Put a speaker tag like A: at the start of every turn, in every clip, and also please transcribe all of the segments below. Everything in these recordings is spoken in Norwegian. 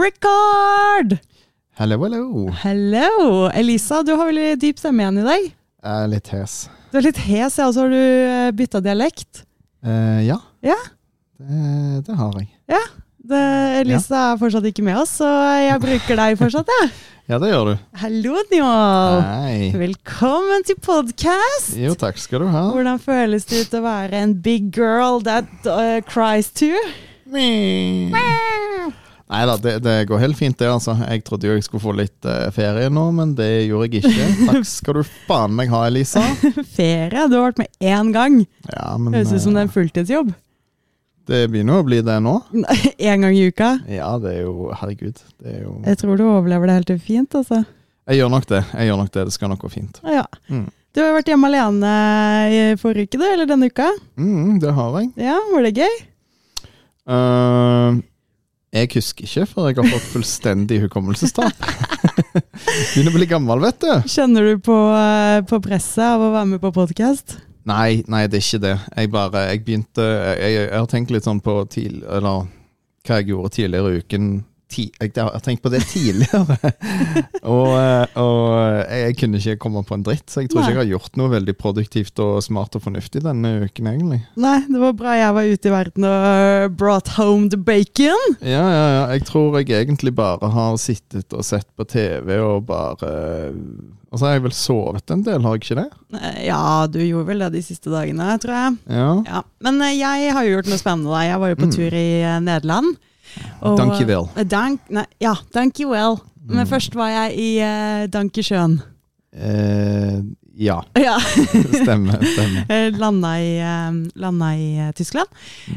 A: Ricard!
B: Hello, hello.
A: Hello! Elisa, du har veldig dyp stemme igjen i dag.
B: Jeg er litt hes.
A: Du er litt hes, ja, og så har du bytta dialekt.
B: Eh, ja.
A: Ja.
B: Det, det har jeg.
A: Det, Elisa er fortsatt ikke med oss, så jeg bruker deg fortsatt, jeg.
B: Ja, det gjør du.
A: Hallo, Njål!
B: Nei.
A: Velkommen til podcast!
B: Jo, takk skal du ha.
A: Hvordan føles det ut å være en big girl that uh, cries too?
B: Nei da, det, det går helt fint, det. altså. Jeg trodde jo jeg skulle få litt eh, ferie nå, men det gjorde jeg ikke. Takk skal du faen meg ha, Elisa.
A: Ferie? Du har vært med én gang.
B: Ja, men
A: Høres ut som
B: eh,
A: det er en fulltidsjobb.
B: det begynner å bli det nå.
A: Én gang i uka.
B: Ja, det er jo Herregud. Det er jo
A: Jeg tror du overlever det helt fint, altså.
B: Jeg gjør nok det. Jeg gjør nok det. Det skal nok gå fint.
A: Ja.
B: Mm.
A: Du har jo vært hjemme alene i forrige uke, du, eller denne uka.
B: Mm, det har jeg.
A: Ja, Var det gøy?
B: Eh, jeg husker ikke før jeg har fått fullstendig hukommelsestap. Begynner å bli gammel, vet du.
A: Kjenner du på, eh, på presset av å være med på podkast?
B: Nei, nei, det er ikke det. Jeg bare, jeg begynte Jeg, jeg har tenkt litt sånn på til, eller, hva jeg gjorde tidligere i uken. Ti, jeg, jeg har tenkt på det tidligere. og eh, og jeg, jeg kunne ikke komme på en dritt, så jeg tror
A: Nei.
B: ikke jeg har gjort noe veldig produktivt og smart og fornuftig denne uken, egentlig.
A: Nei, det var bra jeg var ute i verden og eh, brought home the bacon.
B: Ja, ja, ja. Jeg tror jeg egentlig bare har sittet og sett på TV og bare Og så har jeg vel sovet en del, har jeg ikke det?
A: Eh, Ja, du gjorde vel det de siste dagene, tror jeg.
B: Ja.
A: Ja, Men eh, jeg har jo gjort noe spennende. da. Jeg var jo på
B: Mm.
A: tur i eh, Nederland.
B: Dank je wel.
A: eh, Dank, nei, ja, thank you well. Men
B: Mm.
A: først var jeg i eh, Dankesjøen.
B: Eh, ja.
A: Ja,
B: Stemmer. stemmer.
A: eh, landa i, eh, landa i eh, Tyskland.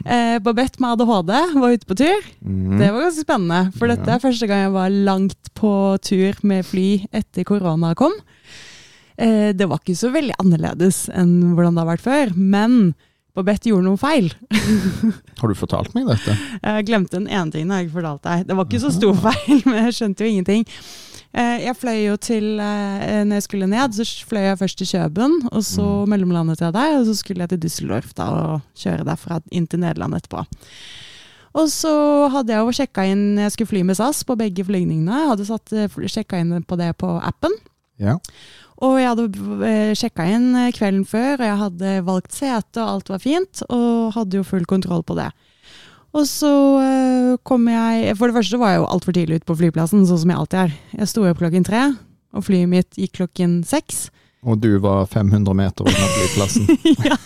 A: Eh, Babette med ADHD var ute på tur.
B: Mm.
A: Det var ganske spennende, for dette
B: Ja.
A: er første gang jeg var langt på tur med fly etter korona kom. Eh, Det var ikke så veldig annerledes enn hvordan det har vært før, men Babette gjorde noen feil.
B: Har du fortalt meg dette?
A: Jeg glemte den ene tingen jeg ikke fortalte deg. Det var ikke så stor feil, men jeg skjønte jo ingenting. Eh, Jeg fløy jo til eh, Når jeg skulle ned, så fløy jeg først til Kjøben, og så mellomlandet jeg der, og så skulle jeg til Düsseldorf da, og kjøre derfra inn til Nederland etterpå. Og så hadde jeg jo sjekka inn Jeg skulle fly med SAS på begge flygningene. Jeg hadde sjekka inn på det på appen.
B: Ja.
A: Og jeg hadde sjekka inn eh, kvelden før, og jeg hadde valgt sete, og alt var fint. Og hadde jo full kontroll på det. Og så eh, kom jeg For det første var jeg jo altfor tidlig ute på flyplassen, sånn som jeg alltid er. Jeg sto opp klokken tre, og flyet mitt gikk klokken seks.
B: Og du var 500 meter unna flyplassen.
A: ja,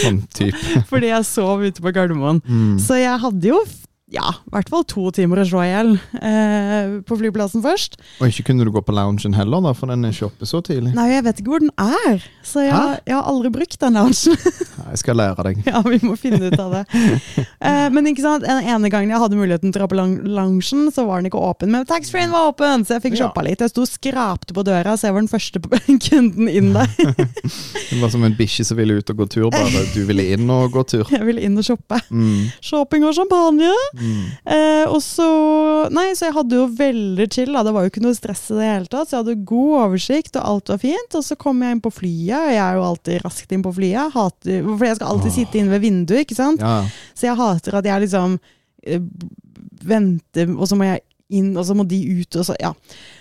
B: Sånn typ.
A: fordi jeg sov ute på Gardermoen.
B: Mm.
A: Så jeg hadde jo ja, i hvert fall to timer å slå i hjel eh, på flyplassen først.
B: Og ikke kunne du gå på loungen heller, da, for den er ikke oppe så tidlig.
A: Nei, jeg vet ikke hvor den er, så jeg,
B: Hæ?
A: jeg har aldri brukt den altså. loungen.
B: Nei, Jeg skal lære deg.
A: Ja, vi må finne ut av det. Eh, men ikke sant, den ene gangen jeg hadde muligheten til å dra på lang- loungen, så var den ikke åpen. Men taxfree-en var åpen, så jeg fikk
B: Ja.
A: shoppa litt. Jeg sto og skrapte på døra, så jeg var den første på- kunden inn der.
B: Det var som en bikkje som ville ut og gå tur, bare. Du ville inn og gå tur.
A: Jeg ville inn og shoppe.
B: Mm.
A: Shopping og champagne.
B: Mm.
A: Eh, og så Nei, så jeg hadde jo veldig chill, da. Det var jo ikke noe stress i det hele tatt. Så jeg hadde god oversikt, og alt var fint. Og så kom jeg inn på flyet, og jeg er jo alltid raskt inn på flyet. Hater, for jeg skal alltid
B: Åh.
A: sitte inn ved vinduet, ikke sant?
B: Ja.
A: Så jeg hater at jeg liksom eh, venter, og så må jeg inn, og så må de ut, og så ja.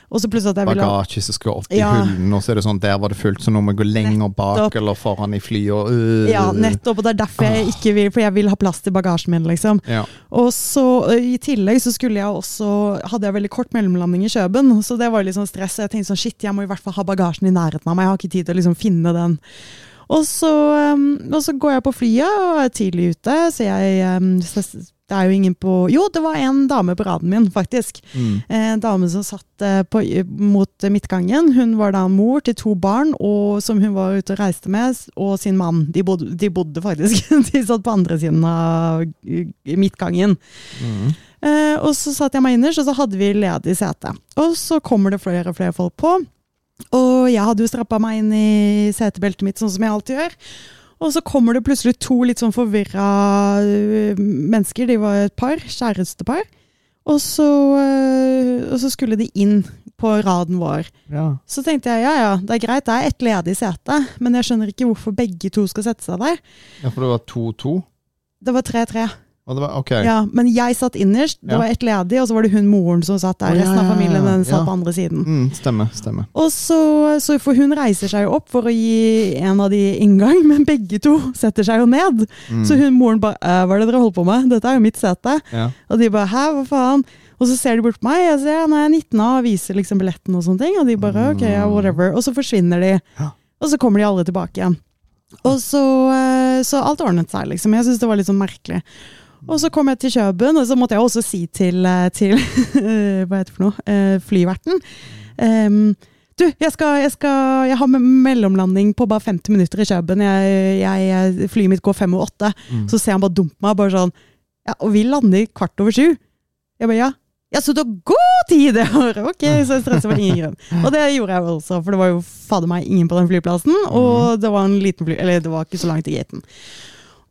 A: Og så plutselig at jeg ville
B: bagasje som skal opp i
A: Ja.
B: hullen, og så er det sånn, der var det fullt, så nå må jeg gå lenger bak eller foran i flyet. Og, øh.
A: ja, nettopp, og det er derfor jeg ikke vil, for jeg vil ha plass til bagasjen min, liksom.
B: Ja.
A: Og så eh, i tillegg så skulle jeg også, hadde jeg veldig kort mellomlanding i Kjøben, så det var litt sånn stress. Jeg tenkte sånn, shit, jeg må i hvert fall ha bagasjen i nærheten av meg, jeg har ikke tid til å liksom finne den. Og så, eh, og så går jeg på flyet og er tidlig ute, så jeg, eh, så det er jo ingen på, jo, det var en dame på raden min, faktisk.
B: Mm.
A: En dame som satt eh, på, mot midtgangen. Hun var da mor til to barn og, som hun var ute og reiste med, s- og sin mann. De bodde, de bodde faktisk De satt på andre siden av eh, midtgangen.
B: Mm.
A: Eh, og så satt jeg meg innerst, og så hadde vi ledig sete. Og så kommer det flere og flere folk på. Og jeg hadde jo strappa meg inn i setebeltet mitt, sånn som jeg alltid gjør. Og så kommer det plutselig to litt sånn forvirra øh, mennesker. De var et par, kjærestepar. Og så, øh, og så skulle de inn på raden vår.
B: Ja.
A: Så tenkte jeg ja ja, det er greit, det er ett ledig sete, men jeg skjønner ikke hvorfor begge to skal sette seg der.
B: ja, for det var 2-2.
A: Det var 3-3.
B: Og det var, ok.
A: Ja, men jeg satt innerst, det
B: Ja.
A: var ett ledig, og så var det hun moren som satt der.
B: Å, ja,
A: Resten av
B: ja, ja,
A: familien den satt
B: ja.
A: på andre siden.
B: Mm, stemmer. stemmer.
A: Og så, så For hun reiser seg jo opp for å gi en av de inngang, men begge to setter seg jo ned.
B: Mm.
A: Så hun moren bare «Eh, 'Hva er det dere holder på med? Dette er jo mitt sete.'
B: ja.
A: Og de bare 'hæ, hva faen?' Og så ser de bort på meg, jeg sier 'nei, jeg er 19 A', og viser liksom billetten og sånne ting. Og de bare 'ok, ja, whatever'. Og så forsvinner de.
B: Mm. Ja.
A: Og så kommer de alle tilbake igjen. Og så, eh, så alt ordnet seg, liksom. Jeg syns det var litt sånn merkelig. Og så kom jeg til Kjøben, og så måtte jeg også si til, eh, til hva heter det for noe, Eh, flyverten ehm, du, jeg, skal, jeg, skal, jeg har me- mellomlanding på bare 50 minutter i Kjøben. Jeg, jeg, flyet mitt går fem og åtte.
B: Mm.
A: Så ser han bare dumpe meg, bare sånn ja, og vi lander kvart over sju. Jeg bare, ja. Ja, så du har god tid! Jeg bare, ok, så jeg stresset for ingen grunn. Og det gjorde jeg jo også, for det var jo fader meg ingen på den flyplassen, og det var en liten fly, eller det var ikke så langt til gaten.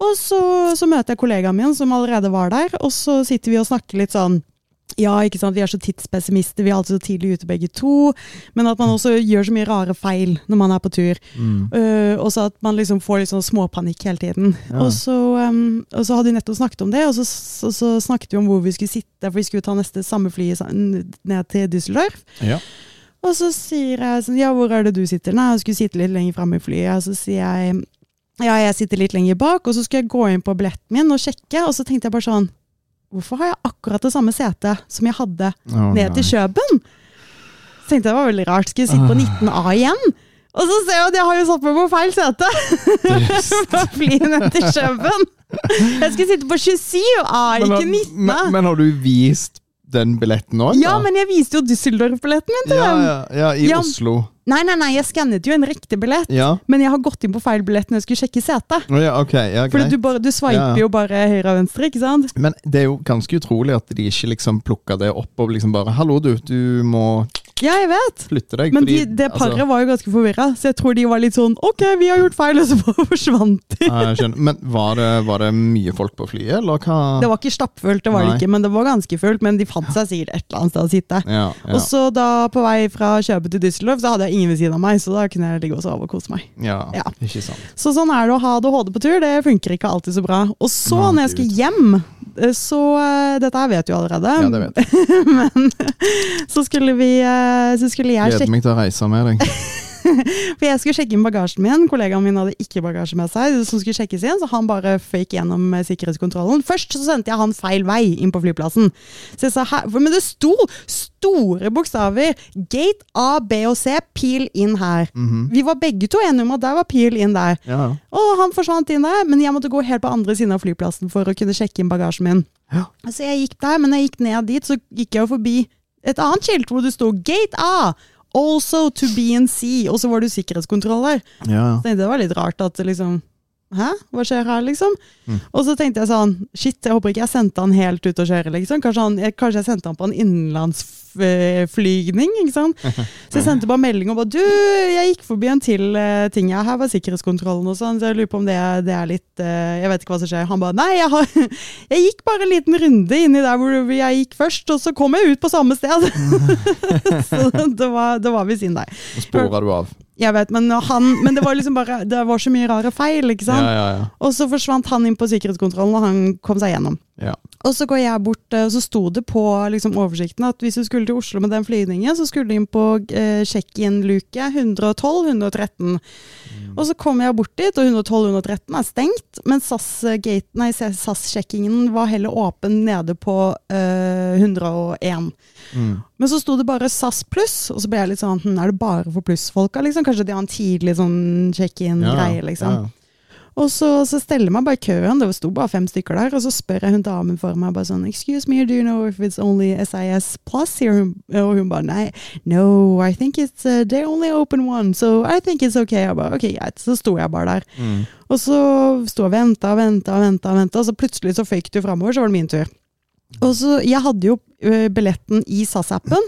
A: Og så, så møter jeg kollegaen min som allerede var der, og så sitter vi og snakker litt sånn, ja, ikke sant, vi er så tidspessimister, vi er alltid så tidlig ute begge to, men at man også gjør så mye rare feil når man er på tur.
B: Mm.
A: Eh, og så at man liksom får litt sånn småpanikk hele tiden.
B: Ja.
A: Og, så, em, og så hadde vi nettopp snakket om det, og så, så, så snakket vi om hvor vi skulle sitte, for vi skulle ta neste samme fly sa- ned til Düsseldorf.
B: Ja.
A: Og så sier jeg sånn, ja, hvor er det du sitter? Nei, jeg skulle sitte litt lenger frem i flyet. Og så sier jeg, ja, jeg sitter litt lenger bak, og så skulle jeg gå inn på billetten min og sjekke, og så tenkte jeg bare sånn, hvorfor har jeg akkurat det samme setet som jeg hadde
B: Å,
A: ned til
B: nei. Ah.
A: Kjøben. Så tenkte jeg det var veldig rart. Skulle jeg sitte på 19A igjen? Og så ser jeg at jeg har jo satt meg på feil sete! På flyet ned til Kjøben. Jeg skulle sitte på 27A,
B: Men,
A: ikke
B: har-
A: 19A.
B: men, men har du vist den billetten òg?
A: Ja, men jeg viste jo Düsseldorf-billetten min til
B: ja,
A: dem!
B: ja, ja, i
A: Ja.
B: Oslo.
A: Nei, nei, nei, jeg skannet jo en riktig billett,
B: Ja.
A: men jeg har gått inn på feil billett når jeg skulle sjekke setet.
B: Å, ja, ok. Ja,
A: For
B: greit.
A: du, bare, du
B: Ja,
A: sveiper
B: ja.
A: jo bare høyre og venstre, ikke sant?
B: Men det er jo ganske utrolig at de ikke liksom plukka det opp og liksom bare 'Hallo, du, du må
A: Ja, jeg vet!
B: flytte deg'.
A: Men de,
B: fordi-
A: det paret
B: altså,
A: var jo ganske forvirra, så jeg tror de var litt sånn Ok, vi har gjort feil, og så bare forsvant de.
B: ja, Eh, jeg skjønner. Men var det, var det mye folk på flyet, eller hva?
A: Det var ikke stappfullt, det var
B: Nei.
A: det ikke, men det var ganske fullt. Men de fant seg sikkert et eller annet sted å sitte.
B: ja, ja,
A: Og så da på vei fra Kjøpe til Düsseldorf, så hadde jeg ingen ved siden av meg, så da kunne jeg ligge og sove og kose meg.
B: ja,
A: ja.
B: Ikke sant.
A: Så sånn er det å ha ADHD på tur, det funker ikke alltid så bra. Og så,
B: Nei,
A: når jeg skulle hjem, eh, så eh, Dette her vet du jo allerede,
B: Ja, det vet jeg.
A: så skulle vi eh, Så skulle jeg
B: Gleder
A: sjekke
B: meg til å reise med deg.
A: For jeg skulle sjekke inn bagasjen min, kollegaen min hadde ikke bagasje med seg, som skulle sjekkes inn, så han bare føyk gjennom eh, sikkerhetskontrollen. Først så sendte jeg han feil vei inn på flyplassen. Så jeg sa, "Hæ?" For- men det sto store bokstaver, gate A, B og C, pil inn her. Vi var begge to enige om at der var pil inn der.
B: Ja.
A: Og han forsvant inn der, men jeg måtte gå helt på andre siden av flyplassen for å kunne sjekke inn bagasjen min. Så jeg gikk der, men når jeg gikk ned dit, så gikk jeg jo forbi et annet skilt hvor det sto 'Gate A'. Also to BNC, og så var det jo sikkerhetskontroll der.
B: ja.
A: Så tenkte jeg det var litt rart at det liksom Hæ, hva skjer her, liksom? Og så tenkte jeg sånn Shit, jeg håper ikke jeg sendte han helt ut å kjøre, liksom. Kanskje, han, jeg, kanskje jeg sendte han på en innenlandsflygning, ikke sant. Så jeg sendte bare melding og bare Du, jeg gikk forbi en til eh, ting jeg her, var sikkerhetskontrollen og sånn, så jeg lurer på om det, er- det er litt eh, Jeg vet ikke hva som skjer. Han bare Nei, jeg har Jeg gikk bare en liten runde inni der hvor jeg gikk først, og så kom jeg ut på samme sted. så det var, det var ved siden der.
B: Og spora du av.
A: Jeg vet, men, han, men det var liksom bare Det var så mye rare feil, ikke
B: Ja,
A: sant?
B: ja, ja.
A: Og så forsvant han inn på sikkerhetskontrollen, og han kom seg gjennom.
B: ja.
A: Og så går jeg bort, eh, og så sto det på liksom, oversikten at hvis du skulle til Oslo med den flygningen, så skulle du inn på eh, sjekk-inn-luke 112-113.
B: Mm.
A: Og så kom jeg bort dit, og 112-113 er stengt, men SAS-gate- nei, SAS-sjekkingen var heller åpen nede på eh, 101.
B: Mm.
A: Men så sto det bare SAS pluss, og så ble jeg litt sånn hm, Er det bare for plussfolka, liksom? Kanskje de har en tidlig sånn check-in-greie, liksom.
B: ja.
A: Og så, så steller jeg meg bare i køen, det sto bare fem stykker der, og så spør jeg hun damen for meg bare sånn Excuse me, do you know if it's only SIS plus here? Hun- Og hun bare nei, no, I think it's uh, they only open one, so I think it's okay. Jeg bare ok, greit. Så sto jeg bare der.
B: Mm.
A: Og så sto jeg og venta og venta, og ventet, og ventet, og så plutselig så føyk det jo framover, så var det min tur. Og så, Jeg hadde jo ø, billetten i SAS-appen,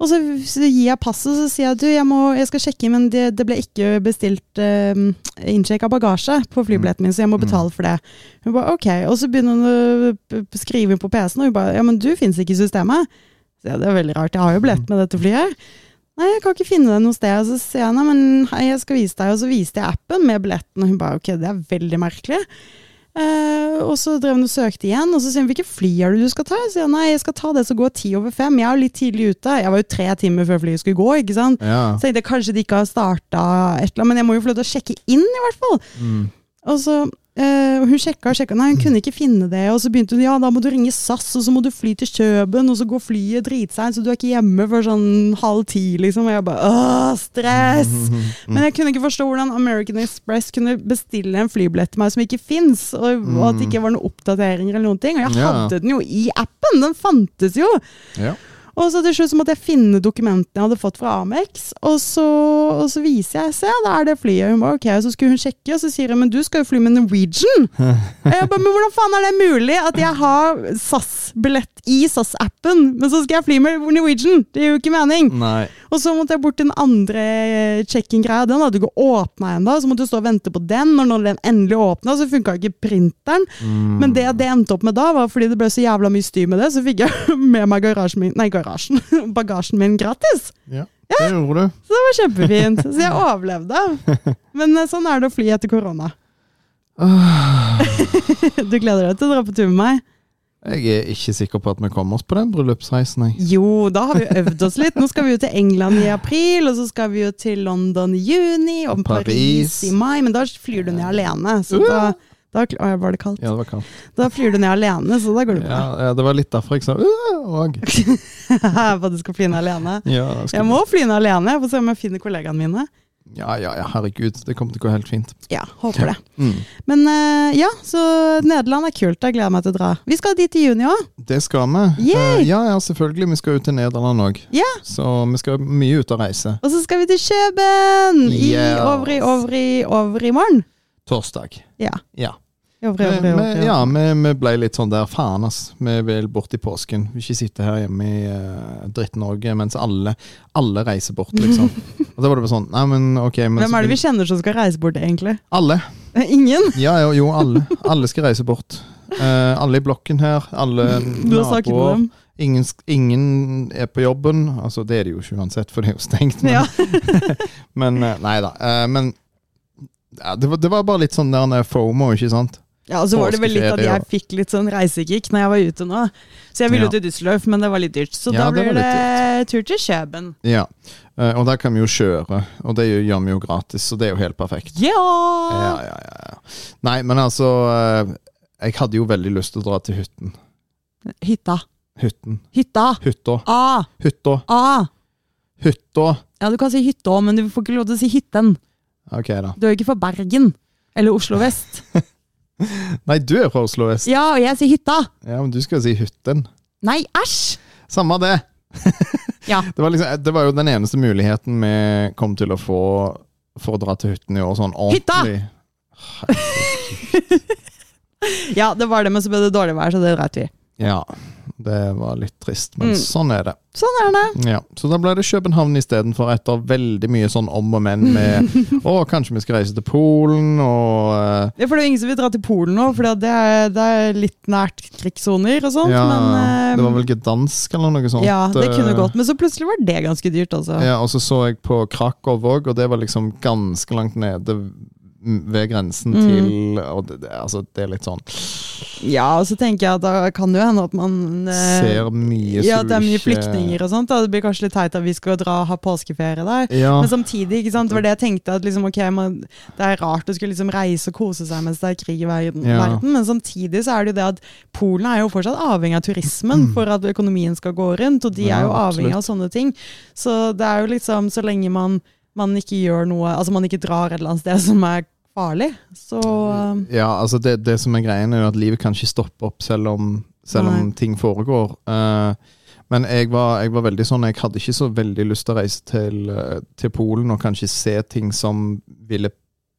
A: og så, så gir jeg passet så sier jeg, du, jeg, må, jeg skal sjekke, men det, det ble ikke bestilt um, innsjekk av bagasje på flybilletten min, så jeg må betale for det. Hun bare ok, og så begynner hun å p- p- skrive på PC-en, og hun bare ja, men du finnes ikke i systemet. Så jeg, det er veldig rart, jeg har jo billett med dette flyet. Nei, jeg kan ikke finne det noe sted. Og Så sier jeg nei, men hei, jeg skal vise deg, og så viste jeg appen med billetten, og hun bare ok, det er veldig merkelig. Eh, og så drev hun og søkte igjen, og så sier hun hvilke fly er det du skal ta? Jeg sier nei, jeg skal ta det som går ti over fem. Jeg er jo litt tidlig ute. Jeg var jo tre timer før flyet skulle gå, ikke sant.
B: Ja.
A: Så tenkte jeg kanskje de ikke har starta et eller annet, men jeg må jo få lov til å sjekke inn, i hvert fall.
B: Mm.
A: Og så eh, Hun sjekka og sjekka, nei, hun kunne ikke finne det. Og så begynte hun ja, da må du ringe SAS, og så må du fly til Kjøben, og så går flyet dritseint, så du er ikke hjemme før sånn halv ti, liksom. Og jeg bare åh, stress! Men jeg kunne ikke forstå hvordan American Express kunne bestille en flybillett til meg som ikke fins, og, og at det ikke var noen oppdateringer eller noen ting. Og jeg
B: Ja.
A: hadde den jo i appen! Den fantes jo!
B: Ja.
A: Og så til slutt så måtte jeg finne dokumentene jeg hadde fått fra Amex, og så, og så viser jeg, se, da er det flyet. Hun bare, ok, og så skulle hun sjekke, og så sier hun, men du skal jo fly med Norwegian. Og jeg bare, men hvordan faen er det mulig at jeg har SAS-billett i SAS-appen, men så skal jeg fly med Norwegian? Det gir jo ikke mening.
B: Nei.
A: Og så måtte jeg bort til den andre eh, check-in-greia, den hadde ikke åpnet ennå, så måtte jeg stå og vente på den, og når den endelig åpnet, så funket ikke printeren. Men det det endte opp med da, var fordi det ble så jævla mye styr med det, så fikk jeg med meg garasjen min, nei, garasjen, bagasjen min gratis.
B: Ja. Det gjorde du.
A: Så det var kjempefint. Så jeg overlevde. Men eh, sånn er det å fly etter korona. Du gleder deg til å dra på tur med meg?
B: Jeg er ikke sikker på at vi kommer oss på den bryllupsreisen. Jeg.
A: Jo, da har vi øvd oss litt. Nå skal vi jo til England i april, og så skal vi jo til London i juni, og
B: Og Paris. Uh!
A: Paris, i mai, men da flyr du ned alene. Så da, da Å, var det kaldt?
B: Ja, det var kaldt.
A: Da flyr du ned alene, så da går det bra.
B: Ja, ja, det var litt derfor jeg sa «Øh», og.
A: For at du skal fly ned alene.
B: Ja, da skal
A: Jeg må fly ned alene. Jeg får se om jeg finner kollegaene mine.
B: vi- ja, ja, ja, herregud. Det kommer til å gå helt fint.
A: Ja, håper det.
B: Mm.
A: Men eh, ja, så Nederland er kult. Jeg gleder meg til å dra. Vi skal dit i juni òg.
B: Det skal vi.
A: Yay!
B: Eh, Ja, ja, selvfølgelig. Vi skal jo til Nederland òg.
A: Ja.
B: Så vi skal mye ut og reise.
A: Og så skal vi til Kjøben! I
B: Yes.
A: over i over i over i morgen.
B: Torsdag.
A: Ja.
B: Ja.
A: I over i
B: Vi,
A: over i over
B: vi,
A: i.
B: ja, vi, vi ble litt sånn der faen, ass. Vi vil bort i påsken. Vi vil ikke sitte her hjemme i eh, Dritt-Norge mens alle, alle reiser bort, liksom. og da var det bare sånn Nei, men ok men
A: Hvem er det vi kjenner som skal reise bort, egentlig?
B: Alle.
A: Ingen?
B: Ja, jo, jo alle. Alle skal reise bort. Eh, alle i blokken her. Alle
A: Du har snakket med
B: naboer.
A: dem.
B: Ingen, sk- ingen er på jobben. Altså, det er det jo ikke uansett, for det er jo stengt. Men,
A: Ja.
B: men eh, nei da. Eh, men ja, det, var, det var bare litt sånn der eh, FOMO, ikke sant?
A: ja, og så var det vel litt at
B: Påskeferie,
A: jeg fikk litt sånn reisekick når jeg var ute nå. Så jeg ville
B: Ja.
A: jo til Düsseldorf, men det var litt dyrt. Så
B: Ja,
A: da
B: det var
A: blir
B: litt
A: det tur til Kjøben.
B: Ja. Eh, og der kan vi jo kjøre, og det gjør vi jo gratis, så det er jo helt perfekt. Ja,
A: Ja!
B: ja, ja, ja. Nei, men altså eh, Jeg hadde jo veldig lyst til å dra til hytten.
A: Hytta.
B: Hytten.
A: Hytta!
B: Hytta.
A: A!
B: Hytta.
A: A!
B: Hytta.
A: Ja, du kan si hytta òg, men du får ikke lov til å si hytten.
B: Ok, da.
A: Du er jo ikke fra Bergen. Eller Oslo vest.
B: Nei, du er fra Oslo vest.
A: Ja, og jeg sier hytta!
B: Ja, men du skal si hytten.
A: Nei, æsj!
B: Samme det.
A: Ja.
B: Det var, liksom, det var jo den eneste muligheten vi kom til å få for å dra til hytten i år. Sånn
A: Hytta!
B: ordentlig.
A: ja, det var det, men så ble det dårlig vær, så det dreit vi i.
B: Ja, det var litt trist, men
A: Mm.
B: sånn er det.
A: Sånn er det.
B: Ja, Så da ble det København istedenfor, etter veldig mye sånn om og men med Å, kanskje vi skal reise til Polen, og eh,
A: Ja, for det er jo ingen som vil dra til Polen nå, for det er, det er litt nært krigssoner og sånt.
B: Ja,
A: men, eh,
B: det var vel Gdansk eller noe sånt.
A: Ja, det kunne
B: eh,
A: gått, men så plutselig var det ganske dyrt, altså.
B: Ja, og så så jeg på Krakow òg, og det var liksom ganske langt nede mm, ved grensen
A: Mm.
B: til og det, det, altså, det er litt sånn
A: Ja, og så tenker jeg at da kan det jo hende at man eh,
B: Ser eh, mye
A: Ja,
B: som
A: det er mye
B: ikke-
A: flyktninger og sånt. Da. Det blir kanskje litt teit at vi skal dra og ha påskeferie der.
B: Ja,
A: Men samtidig, ikke sant, det var det jeg tenkte, at liksom, ok, man, det er rart å skulle liksom reise og kose seg mens det er krig i verden,
B: Ja.
A: verden, men samtidig så er det jo det at Polen er jo fortsatt avhengig av turismen for at økonomien skal gå rundt, og de
B: Mm. Ja,
A: er jo
B: absolutt.
A: avhengig av sånne ting. Så det er jo liksom, så lenge man, man ikke gjør noe, altså man ikke drar et eller annet sted som er farlig, så um,
B: ja altså det, det som er greien, er jo at livet kan ikke stoppe opp selv om, selv om
A: Nei.
B: ting foregår. Eh, men jeg var, jeg var veldig sånn Jeg hadde ikke så veldig lyst til å reise til, eh, til Polen og kanskje se ting som ville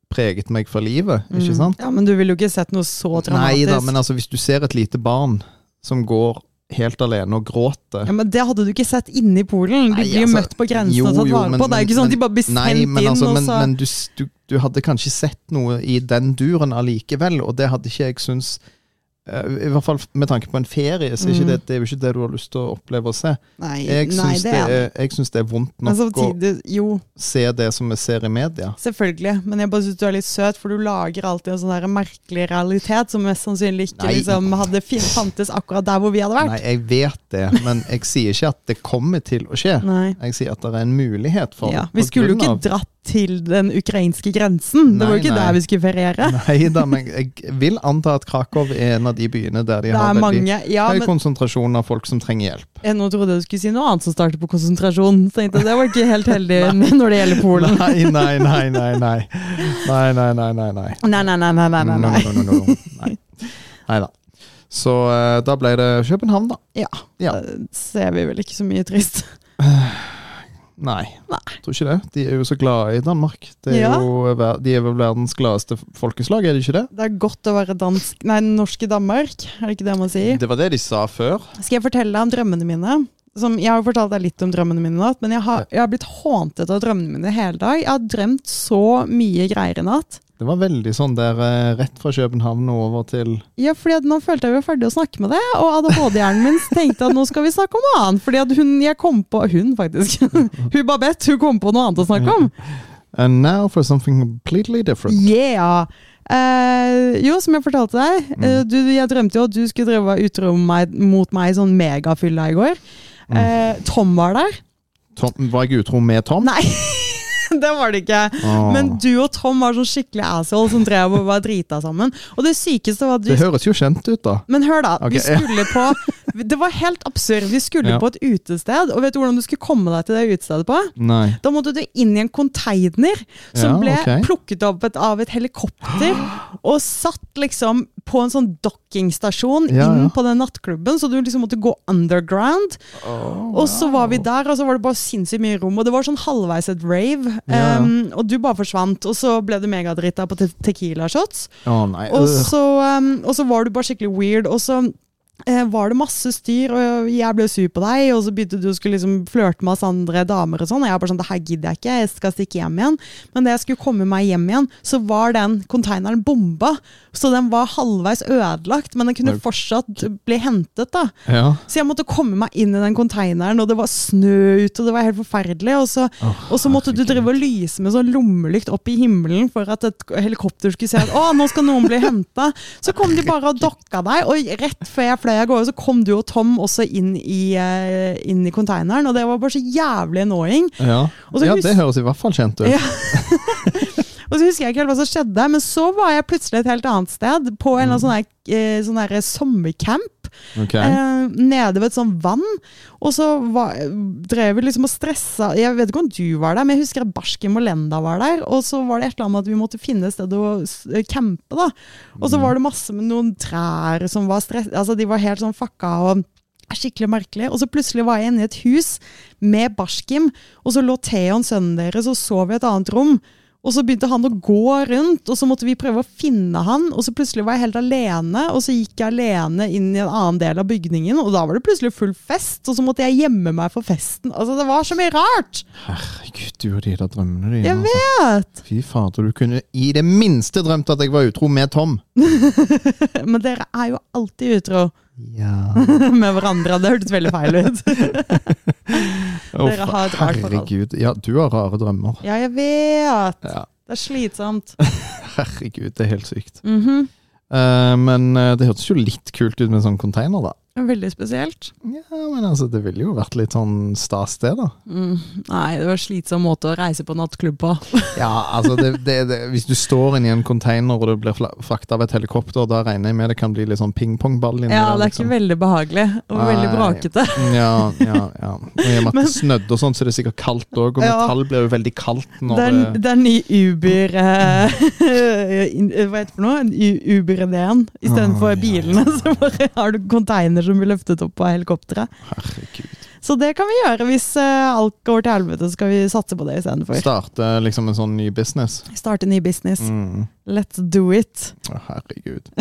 B: preget meg for livet, ikke
A: mm.
B: sant?
A: Ja, men du ville jo ikke sett noe så
B: Nei
A: dramatisk.
B: da, men altså hvis du ser et lite barn som går helt alene og gråter
A: Ja, men Det hadde du ikke sett inne i Polen. De
B: Nei,
A: blir jo
B: altså,
A: møtt på grensen
B: jo,
A: og tatt
B: jo,
A: vare
B: men-
A: på. Det er jo ikke sånn at de bare blir sendt
B: Nei, men,
A: inn.
B: altså,
A: og
B: men,
A: så...
B: men du, s- du, du hadde kanskje sett noe i den duren allikevel, og det hadde ikke jeg syntes eh, I hvert fall med tanke på en ferie, så er ikke
A: Mm.
B: det, det er jo ikke det du har lyst til å oppleve og se.
A: Nei,
B: Jeg
A: nei
B: syns
A: det
B: det,
A: er det. Altså,
B: er- jeg syns det er vondt
A: Men
B: nok å
A: samtidig, jo,
B: se det som vi ser i media.
A: selvfølgelig. Men jeg bare syns du er litt søt, for du lager alltid en sånn der merkelig realitet som mest sannsynlig ikke
B: Nei.
A: liksom, hadde fin fantes akkurat der hvor vi hadde
B: Nei,
A: vært.
B: jeg vet det, men jeg sier ikke at det kommer til å skje.
A: Nei.
B: Jeg sier at det er en mulighet for
A: Ja.
B: det.
A: Vi
B: på
A: skulle jo ikke
B: grunn av-
A: dratt til den ukrainske grensen. Det var jo
B: Nei,
A: ikke
B: nei.
A: der vi skulle feriere.
B: Nei da, men jeg vil anta at Krakow er en av de byene der de
A: Det
B: har
A: er
B: veldig
A: mange Ja,
B: høy
A: men
B: konsentrasjon av folk som trenger hjelp.
A: jeg nå trodde jeg du skulle si noe annet som starter på konsentrasjon. Så tenkte jeg, Det var ikke helt heldig når det gjelder Polen.
B: Nei, nei, nei, nei. Nei, nei, nei, nei. nei, nei.
A: Nei, nei, nei. nei, nei, nei, nei.
B: No, no, no, no, no. Nei. Neida. Så eh, da ble det København, da. Ja.
A: Da ser vi vel ikke så mye trist.
B: Nei,
A: Nei.
B: tror ikke det. De er jo så glade i Danmark. Det er
A: Ja.
B: jo, ver- de er vel verdens gladeste folkeslag, er de ikke det?
A: Det er godt å være dansk Nei, norsk i Danmark, er det ikke det man sier?
B: Det var det de sa før.
A: Skal jeg fortelle deg om drømmene mine? Som, jeg har jo fortalt deg litt om drømmene mine i natt, men jeg har, jeg har blitt håntet av drømmene mine hele dag. Jeg har drømt så mye greier i natt.
B: Det var veldig sånn der eh, rett fra København og over til
A: Ja, fordi at nå følte jeg vi var ferdig å snakke med det, og ADHD-hjernen min tenkte at nå skal vi snakke om noe annet. Fordi at hun jeg kom på Hun, faktisk. hun Babette, hun kom på noe annet å snakke om.
B: And eh, now for something completely different.
A: Yeah! Eh, jo, som jeg fortalte deg,
B: Mm.
A: eh, du, jeg drømte jo at du skulle drive og være utro med meg, mot meg i sånn megafylla i går.
B: Mm.
A: Eh, Tom var der.
B: Tom, var jeg utro med Tom?
A: Nei, det var det ikke.
B: Åh.
A: Men du og Tom var sånn skikkelig asshole som drev og var drita sammen. Og det sykeste var at du
B: Det høres jo kjent ut, da.
A: Men hør, da.
B: Ok,
A: vi skulle på Det var helt absurd. Vi skulle
B: Ja.
A: på et utested, og vet du hvordan du skulle komme deg til det utestedet på?
B: Nei.
A: Da måtte du inn i en container som
B: Ja,
A: ble
B: ok.
A: plukket opp et, av et helikopter og satt liksom på en sånn dockingstasjon
B: Ja, ja.
A: inn på den nattklubben, så du liksom måtte gå underground. og så var vi der, og så var det bare sinnssykt mye rom, og det var sånn halvveis et rave.
B: Ja, ja.
A: Um, og du bare forsvant, og så ble du megadrita på te tequila shots.
B: Å nei.
A: Og
B: øh.
A: så, um, og så var du bare skikkelig weird, og så eh, var det masse styr, og jeg ble sur på deg, og så begynte du å skulle liksom flørte med oss andre damer og sånn, og jeg bare sånn, det her gidder jeg ikke, jeg skal stikke hjem igjen. Men da jeg skulle komme meg hjem igjen, så var den konteineren bomba, så den var halvveis ødelagt, men den kunne
B: Nei.
A: fortsatt bli hentet da.
B: Ja.
A: Så jeg måtte komme meg inn i den konteineren, og det var snø ute, og det var helt forferdelig. Og så, og så måtte du drive og lyse med sånn lommelykt opp i himmelen for at et helikopter skulle se at å, nå skal noen bli henta. Så kom de bare og dokka deg, og rett før jeg fløy av gårde, så kom du og Tom også inn i, eh, inn i konteineren, og det var bare så jævlig annoying.
B: Ja.
A: Og så
B: ja,
A: hus-
B: det høres i hvert fall kjent ut.
A: Ja. Og så husker jeg ikke helt hva som skjedde, men så var jeg plutselig et helt annet sted, på en eller annen sånn her, eh, sånn her sommercamp.
B: Ok.
A: eh, nede ved et sånt vann. Og så var, drev vi liksom og stressa Jeg vet ikke om du var der, men jeg husker at Barsken Molenda var der. Og så var det et eller annet med at vi måtte finne et sted å s- eh, campe, da. Og så var det masse med noen trær som var stress... Altså, de var helt sånn fucka og Skikkelig merkelig. Og så plutselig var jeg inne i et hus med Barskim, og så lå Theon, sønnen deres, og sov i et annet rom. Og så begynte han å gå rundt, og så måtte vi prøve å finne han. Og så plutselig var jeg helt alene, og så gikk jeg alene inn i en annen del av bygningen, og da var det plutselig full fest, og så måtte jeg gjemme meg for festen. Altså, det var så mye rart!
B: Herregud, du og de der drømmene dine.
A: Jeg
B: altså.
A: vet!
B: Fy fader, du kunne i det minste drømt at jeg var utro med Tom.
A: Men dere er jo alltid utro
B: Ja.
A: med hverandre, det hørtes veldig feil ut.
B: Uff,
A: Dere har et rart forhold.
B: herregud. Ja, du har rare drømmer.
A: Ja, jeg vet!
B: Ja.
A: Det er slitsomt.
B: Herregud, det er helt sykt.
A: Mhm.
B: Eh, men eh, det hørtes jo litt kult ut med en sånn container, da.
A: Veldig spesielt.
B: Ja, men altså, det ville jo vært litt sånn stas, det, da.
A: Mm. Nei, det var en slitsom måte å reise på nattklubb på.
B: Ja, altså det, det, det, Hvis du står inni en container og du blir fla- frakta av et helikopter, da regner jeg med det kan bli litt sånn pingpongball inni
A: Ja,
B: der. liksom.
A: det er ikke veldig behagelig, og veldig
B: Nei.
A: brakete.
B: Ja, ja, ja. Og I og med at det snødde og sånn, så er det sikkert kaldt òg. Og
A: Ja.
B: metall blir jo veldig kaldt
A: Det
B: når
A: er,
B: det
A: det er ny Uber eh, in- eh, Hva heter det for noe? U- Uber-ideen.
B: Ah,
A: Istedenfor
B: ja.
A: bilene, så bare har du container som blir løftet opp av helikopteret.
B: Herregud.
A: Så det kan vi gjøre hvis eh, alt går til helvete, så skal vi satse på det istedenfor.
B: Starte liksom en sånn ny business.
A: Starte ny business.
B: Mm.
A: Let's do it.
B: Å, herregud.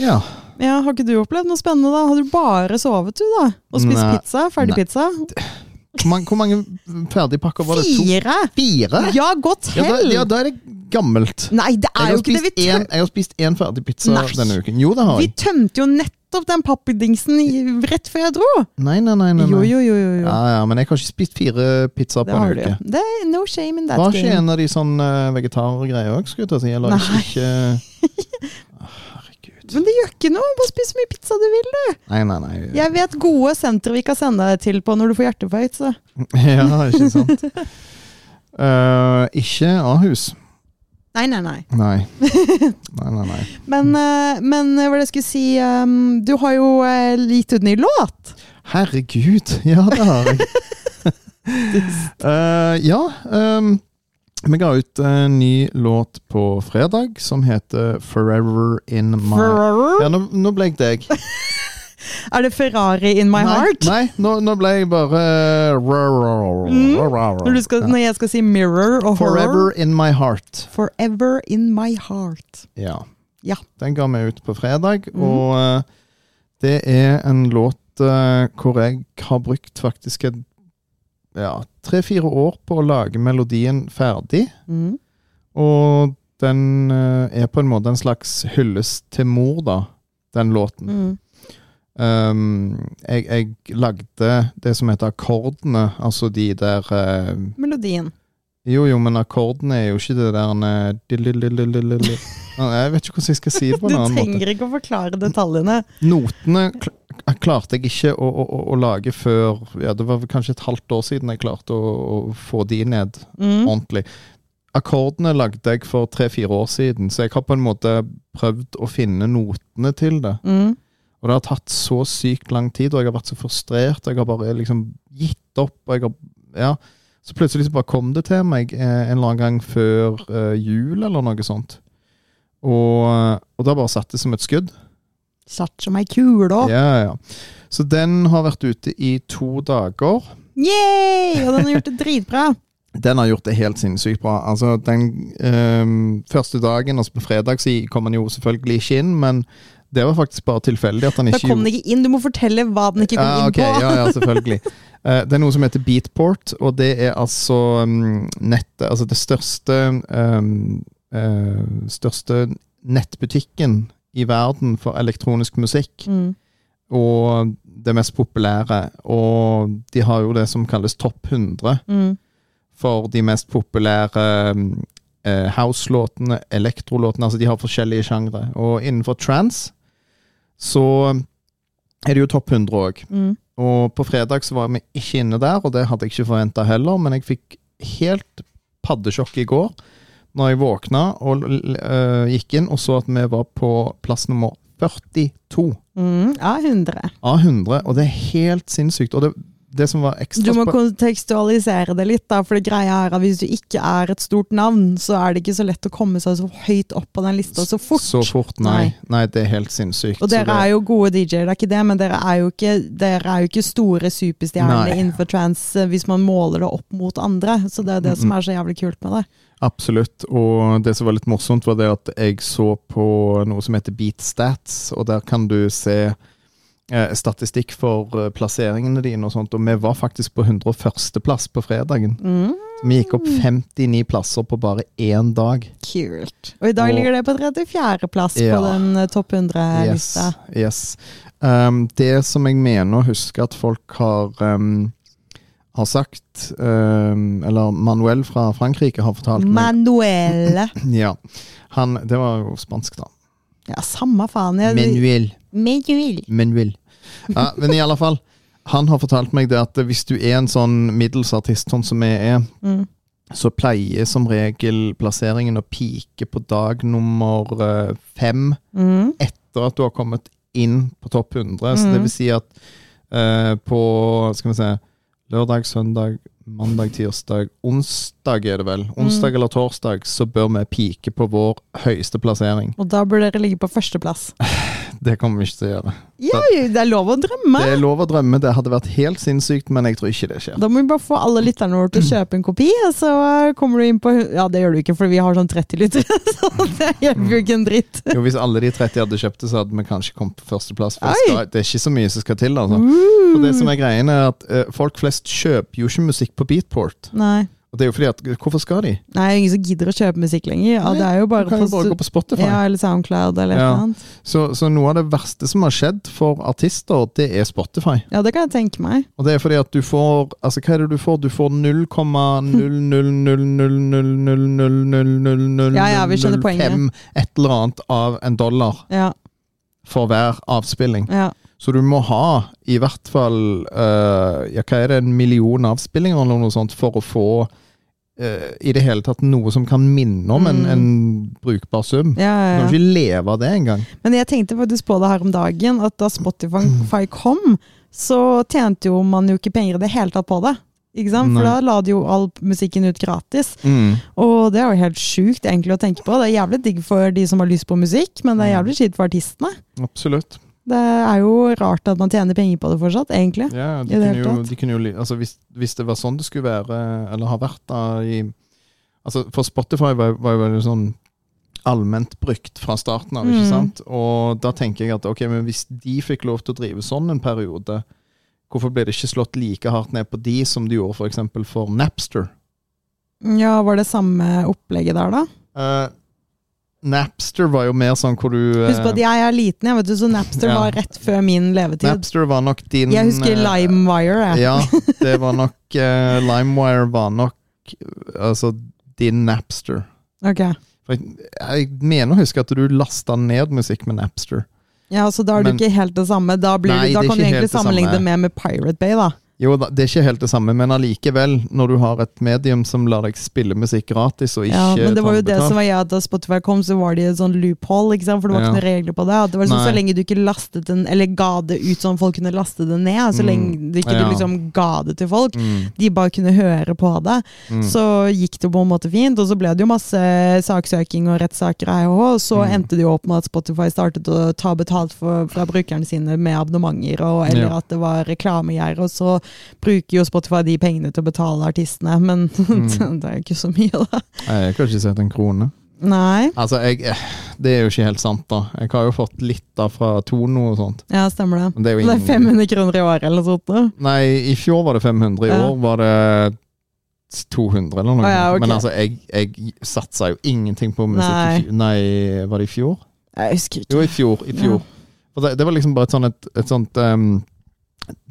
B: Ja.
A: Ja, har ikke du opplevd noe spennende, da? Har du bare sovet, du, da? Og spist
B: Nei.
A: pizza? Ferdig
B: Nei.
A: pizza?
B: Hvor mange, hvor mange ferdigpakker var det? To?
A: Fire!
B: Fire?
A: Ja, godt
B: Ja da,
A: hell!
B: ja, da er det gammelt.
A: Nei, det er
B: Jeg
A: jo
B: har,
A: ikke det!
B: spist
A: Vi, tøm
B: en, jeg har spist én ferdig pizza
A: Nei.
B: denne uken. Jo, det har
A: vi
B: jeg.
A: tømte jo nettopp den pappdingsen i- rett før jeg dro!
B: Nei, nei, nei. nei, nei.
A: Jo, jo, jo. jo, jo.
B: Ja, ja, men jeg har ikke spist fire
A: Det
B: pizzaer på
A: har
B: en
A: du
B: uke.
A: jo. Det er no shame in that
B: Var ikke
A: game.
B: en av de sånn eh, vegetargreier òg, skulle jeg til å si? Eller
A: Nei.
B: ikke Å, Herregud.
A: Men det gjør ikke noe! Bare spis så mye pizza du vil, du!
B: Nei, nei, nei.
A: Jeg vet gode sentre vi kan sende deg til på når du får hjertefeit, så
B: Ja, ikke sant. Eh, ikke Ahus.
A: Nei, nei, nei.
B: Nei. Nei, nei, nei.
A: Men, eh, men eh, hva var det jeg skulle si ehm, Du har jo eh, gitt ut ny låt!
B: Herregud, ja, det har jeg. Eh, ja. ehm, vi ga ut en ny låt på fredag som heter 'Forever In My'.
A: Ferrari?
B: Ja, nå, nå ble jeg deg.
A: Er det Ferrari in my
B: nei,
A: heart?
B: Nei, nå, nå ble jeg bare
A: Mm.
B: eh,
A: Når, du skal,
B: Ja.
A: når jeg skal si mirror og horror?
B: Forever in my heart.
A: Forever in my heart.
B: Ja.
A: Ja.
B: Den ga vi ut på fredag,
A: Mhm.
B: og eh, det er en låt eh, hvor jeg har brukt faktisk et ja, tre-fire år på å lage melodien ferdig.
A: Mm.
B: Og den eh, er på en måte en slags hyllest til mor, da, den låten.
A: Mm.
B: Um, jeg, jeg lagde det som heter akkordene, altså de der eh,
A: Melodien.
B: Jo, jo, men akkordene er jo ikke det der eh, dillililililili. Nei, Jeg vet ikke hvordan jeg skal si det på
A: Du
B: en annen måte.
A: trenger ikke å forklare detaljene.
B: Notene kl eh, klarte jeg ikke å, å, å, å lage før ja, Det var vel kanskje et halvt år siden jeg klarte å, å få de ned
A: Mm.
B: ordentlig. Akkordene lagde jeg for tre-fire år siden, så jeg har på en måte prøvd å finne notene til det.
A: Mm.
B: Og det har tatt så sykt lang tid, og jeg har vært så frustrert. og Jeg har bare liksom gitt opp. og jeg har, ja. Så plutselig så bare kom det til meg eh, en eller annen gang før eh, jul eller noe sånt. Og, og da bare satt det som et skudd.
A: Satt som ei kule òg.
B: Ja, ja. Så den har vært ute i to dager.
A: Yay! Og den har gjort det dritbra.
B: Den har gjort det helt sinnssykt bra. Altså, den ehm, første dagen, altså på fredag, så kom den jo selvfølgelig ikke inn, men det var faktisk bare tilfeldig at den
A: Da
B: ikke
A: kom den ikke inn. Du må fortelle hva den ikke kom
B: Ja,
A: inn
B: Ah, ok,
A: på.
B: ja, ja, selvfølgelig. Eh, det er noe som heter Beatport, og det er altså mm, nettet Altså det største ehm, eh, Største nettbutikken i verden for elektronisk musikk.
A: Mm.
B: Og det mest populære. Og de har jo det som kalles Topp 100
A: Mm.
B: for de mest populære mm, eh, house-låtene, elektrolåtene. Altså, de har forskjellige sjangre. Og innenfor trans så er det jo topp 100 òg.
A: Mm.
B: Og på fredag så var vi ikke inne der, og det hadde jeg ikke forventa heller, men jeg fikk helt paddesjokk i går når jeg våkna og l- eh, gikk inn og så at vi var på plass nummer 42
A: Mm. Ja, 100.
B: av 100, og det er helt sinnssykt. Og det, det som var ekstra
A: Du må
B: spa-
A: kontekstualisere det litt, da, for det greia er at hvis du ikke er et stort navn, så er det ikke så lett å komme seg så høyt opp på den lista så fort.
B: Så fort, nei. Nei, det er helt sinnssykt.
A: Og
B: så
A: dere
B: det-
A: er jo gode DJ-er, det er ikke det, men dere er jo ikke, dere er jo ikke store superstjerner
B: Nei.
A: innenfor trans eh, hvis man måler det opp mot andre. Så det er det som
B: Mm.
A: er så jævlig kult med det.
B: Absolutt. Og det som var litt morsomt, var det at jeg så på noe som heter Beatstats, og der kan du se eh, statistikk for eh, plasseringene dine og sånt, og vi var faktisk på 101. plass på fredagen.
A: Mm.
B: Vi gikk opp 59 plasser på bare én dag.
A: Kult. Og i dag
B: Og-
A: ligger det på 34.-plass på
B: Ja.
A: den eh, topp 100-lista.
B: Yes. Um, det som jeg mener å huske at folk har um, har sagt, um, eller Manuel fra Frankrike har fortalt meg
A: Manuelle.
B: ja, han, Det var jo spansk, da.
A: Ja, samme faen. Jeg,
B: Manuel.
A: Manuel.
B: men vil. Ja, men i alle fall, han har fortalt meg det at hvis du er en sånn middels artist sånn som vi er,
A: Mm.
B: så pleier som regel plasseringen å pike på dag nummer eh, fem
A: Mm.
B: etter at du har kommet inn på topp 100. Så det
A: Mhm.
B: vil si at eh, på skal vi se, lørdag, søndag, mandag, tirsdag, onsdag er det vel. Onsdag eller torsdag så bør vi pike på vår høyeste plassering.
A: Og da burde dere ligge på førsteplass.
B: Det kommer vi ikke til å gjøre.
A: Ja, det er lov å drømme!
B: Det er lov å drømme, det hadde vært helt sinnssykt, men jeg tror ikke det skjer.
A: Da må vi bare få alle lytterne våre til å kjøpe en kopi, og så kommer du inn på Ja, det gjør du ikke, for vi har sånn 30 lyttere, så det hjelper jo ikke en dritt.
B: Jo, Hvis alle de 30 hadde kjøpt det, så hadde vi kanskje kommet på førsteplass. For det
A: Oi.
B: skal, det er ikke så mye som skal til.
A: Uh.
B: altså. For det som er greien er at eh, Folk flest kjøper jo ikke musikk på Beatport.
A: Nei.
B: Og det er jo fordi at, Hvorfor skal de?
A: Nei, ingen som gidder å kjøpe musikk lenger. Ja,
B: Nei,
A: det er jo
B: Du
A: bare
B: kan jo
A: på
B: bare
A: stu-
B: gå på Spotify.
A: ja, eller SoundCloud eller
B: Ja.
A: noe annet.
B: Så, så noe av det verste som har skjedd for artister, det er Spotify.
A: Ja, det kan jeg tenke meg.
B: Og det er fordi at du får Altså, hva er det du får? Du får 0,0000000000005
A: Ja, ja, vi skjønner poenget.
B: et eller annet av en dollar
A: Ja,
B: for hver avspilling.
A: ja.
B: Så du må ha i hvert fall eh, Ja, hva er det, en million avspillinger eller noe sånt for å få eh, i det hele tatt noe som kan minne om en,
A: Mm.
B: en brukbar sum.
A: ja,
B: Du
A: ja,
B: kan
A: ja.
B: ikke leve av det engang.
A: Men jeg tenkte faktisk på det her om dagen, at da
B: Mm.
A: Spotify kom, så tjente jo man jo ikke penger i det hele tatt på det. Ikke sant? For
B: Nei.
A: da la de jo all musikken ut gratis.
B: Mm.
A: Og det er jo helt sjukt egentlig å tenke på. Det er jævlig digg for de som har lyst på musikk, men det er jævlig skitt for artistene.
B: Absolutt.
A: Det er jo rart at man tjener penger på det fortsatt, egentlig.
B: Ja, de
A: I det
B: kunne
A: hele
B: jo,
A: tatt.
B: de kunne jo li- altså hvis, hvis det var sånn det skulle være, eller har vært da i altså For Spotify var, var jo veldig sånn allment brukt fra starten av, ikke
A: Mm.
B: sant? Og da tenker jeg at ok, men hvis de fikk lov til å drive sånn en periode, hvorfor ble det ikke slått like hardt ned på de som de gjorde for eksempel for Napster?
A: Ja, var det samme opplegget der, da?
B: Eh, Napster var jo mer sånn hvor du eh,
A: Husk på at jeg er liten, jeg vet du, så Napster
B: Ja.
A: var rett før min levetid.
B: Napster var nok din
A: Jeg husker
B: eh,
A: LimeWire, jeg.
B: Ja, det var nok eh, LimeWire var nok eh, altså din Napster.
A: Ok.
B: For jeg, jeg mener å huske at du lasta ned musikk med Napster.
A: Ja, så da er det
B: Men-
A: ikke helt det samme. Da, blir,
B: Nei,
A: da kan du
B: det er ikke
A: egentlig
B: helt det
A: sammenligne det
B: samme.
A: med med Pirate Bay, da.
B: Jo da, det er ikke helt det samme, men allikevel, når du har et medium som lar deg spille musikk gratis og ikke
A: Ja, men det var jo det
B: betalt.
A: som var ja, da Spotify kom, så var det i et sånn loophole, ikke sant? for det var
B: Ja.
A: ikke noen regler på det. At det var sånn,
B: Nei.
A: så lenge du ikke lastet den, eller ga det ut sånn folk kunne laste det ned, så
B: Mm.
A: lenge du ikke
B: Ja.
A: du liksom ga det til folk,
B: Mm,
A: de bare kunne høre på det,
B: mm.
A: så gikk det jo på en måte fint. Og så ble det jo masse saksøking og rettssaker her og og så
B: Mm.
A: endte det jo opp med at Spotify startet å ta betalt for, fra brukerne sine med abonnementer, og, eller
B: Ja.
A: at det var reklamegjerder, og så bruker jo Spotify de pengene til å betale artistene, men
B: Mm.
A: det er jo ikke så mye, da.
B: Nei, Jeg kan ikke sett en krone.
A: Nei.
B: Altså, jeg, eh, det er jo ikke helt sant, da. Jeg har jo fått litt da fra Tono og sånt.
A: Ja, stemmer det.
B: Men det er jo
A: Det er
B: ingen
A: 500 kroner i året eller noe sånt. da.
B: Nei, i fjor var det 500, i
A: Ja.
B: år var det 200 eller noe.
A: Å ja, ok.
B: Men altså, jeg, jeg satsa jo ingenting på musikk
A: Nei.
B: i fjor. Nei, var det i fjor?
A: Jeg husker ikke.
B: Jo, i fjor. I fjor. For det, det var liksom bare et sånt, et, et sånt em,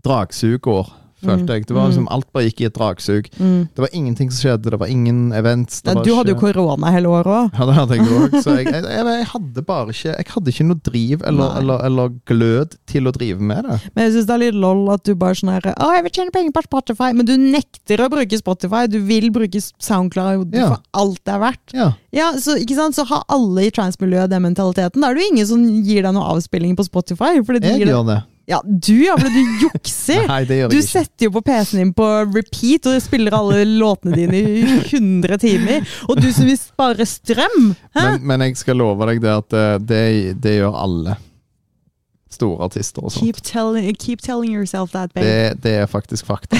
B: dragsugår, følte
A: Mm.
B: jeg. Det var liksom
A: Mm.
B: Alt bare gikk i et dragsug.
A: Mm.
B: Det var ingenting som skjedde, det var ingen events. Det
A: Nei,
B: var
A: du hadde jo
B: ikke-
A: korona hele året òg.
B: ja, det hadde jeg òg. Så jeg, jeg, jeg, jeg hadde bare ikke Jeg hadde ikke noe driv eller,
A: Nei.
B: eller, eller glød til å drive med det.
A: Men jeg syns det er litt lol at du bare sånn her Å, jeg vil tjene penger på Spotify, men du nekter å bruke Spotify. Du vil bruke SoundCloud
B: Ja.
A: for alt det er verdt.
B: Ja.
A: Ja, så, ikke sant? så har alle i transmiljøet den mentaliteten. Da er det jo ingen som gir deg noe avspilling på Spotify. Fordi de
B: Jeg
A: gir deg...
B: gjør det.
A: Ja, du ja, fordi du jukser!
B: Nei, det gjør
A: Du
B: jeg ikke.
A: setter jo på PC-en din på repeat og spiller alle låtene dine i 100 timer. Og du som vil spare strøm! Hæ?
B: Men, men jeg skal love deg det at eh, det, det gjør alle store artister og sånt.
A: Keep telling, keep telling yourself that, babe.
B: Det, det er faktisk fakta.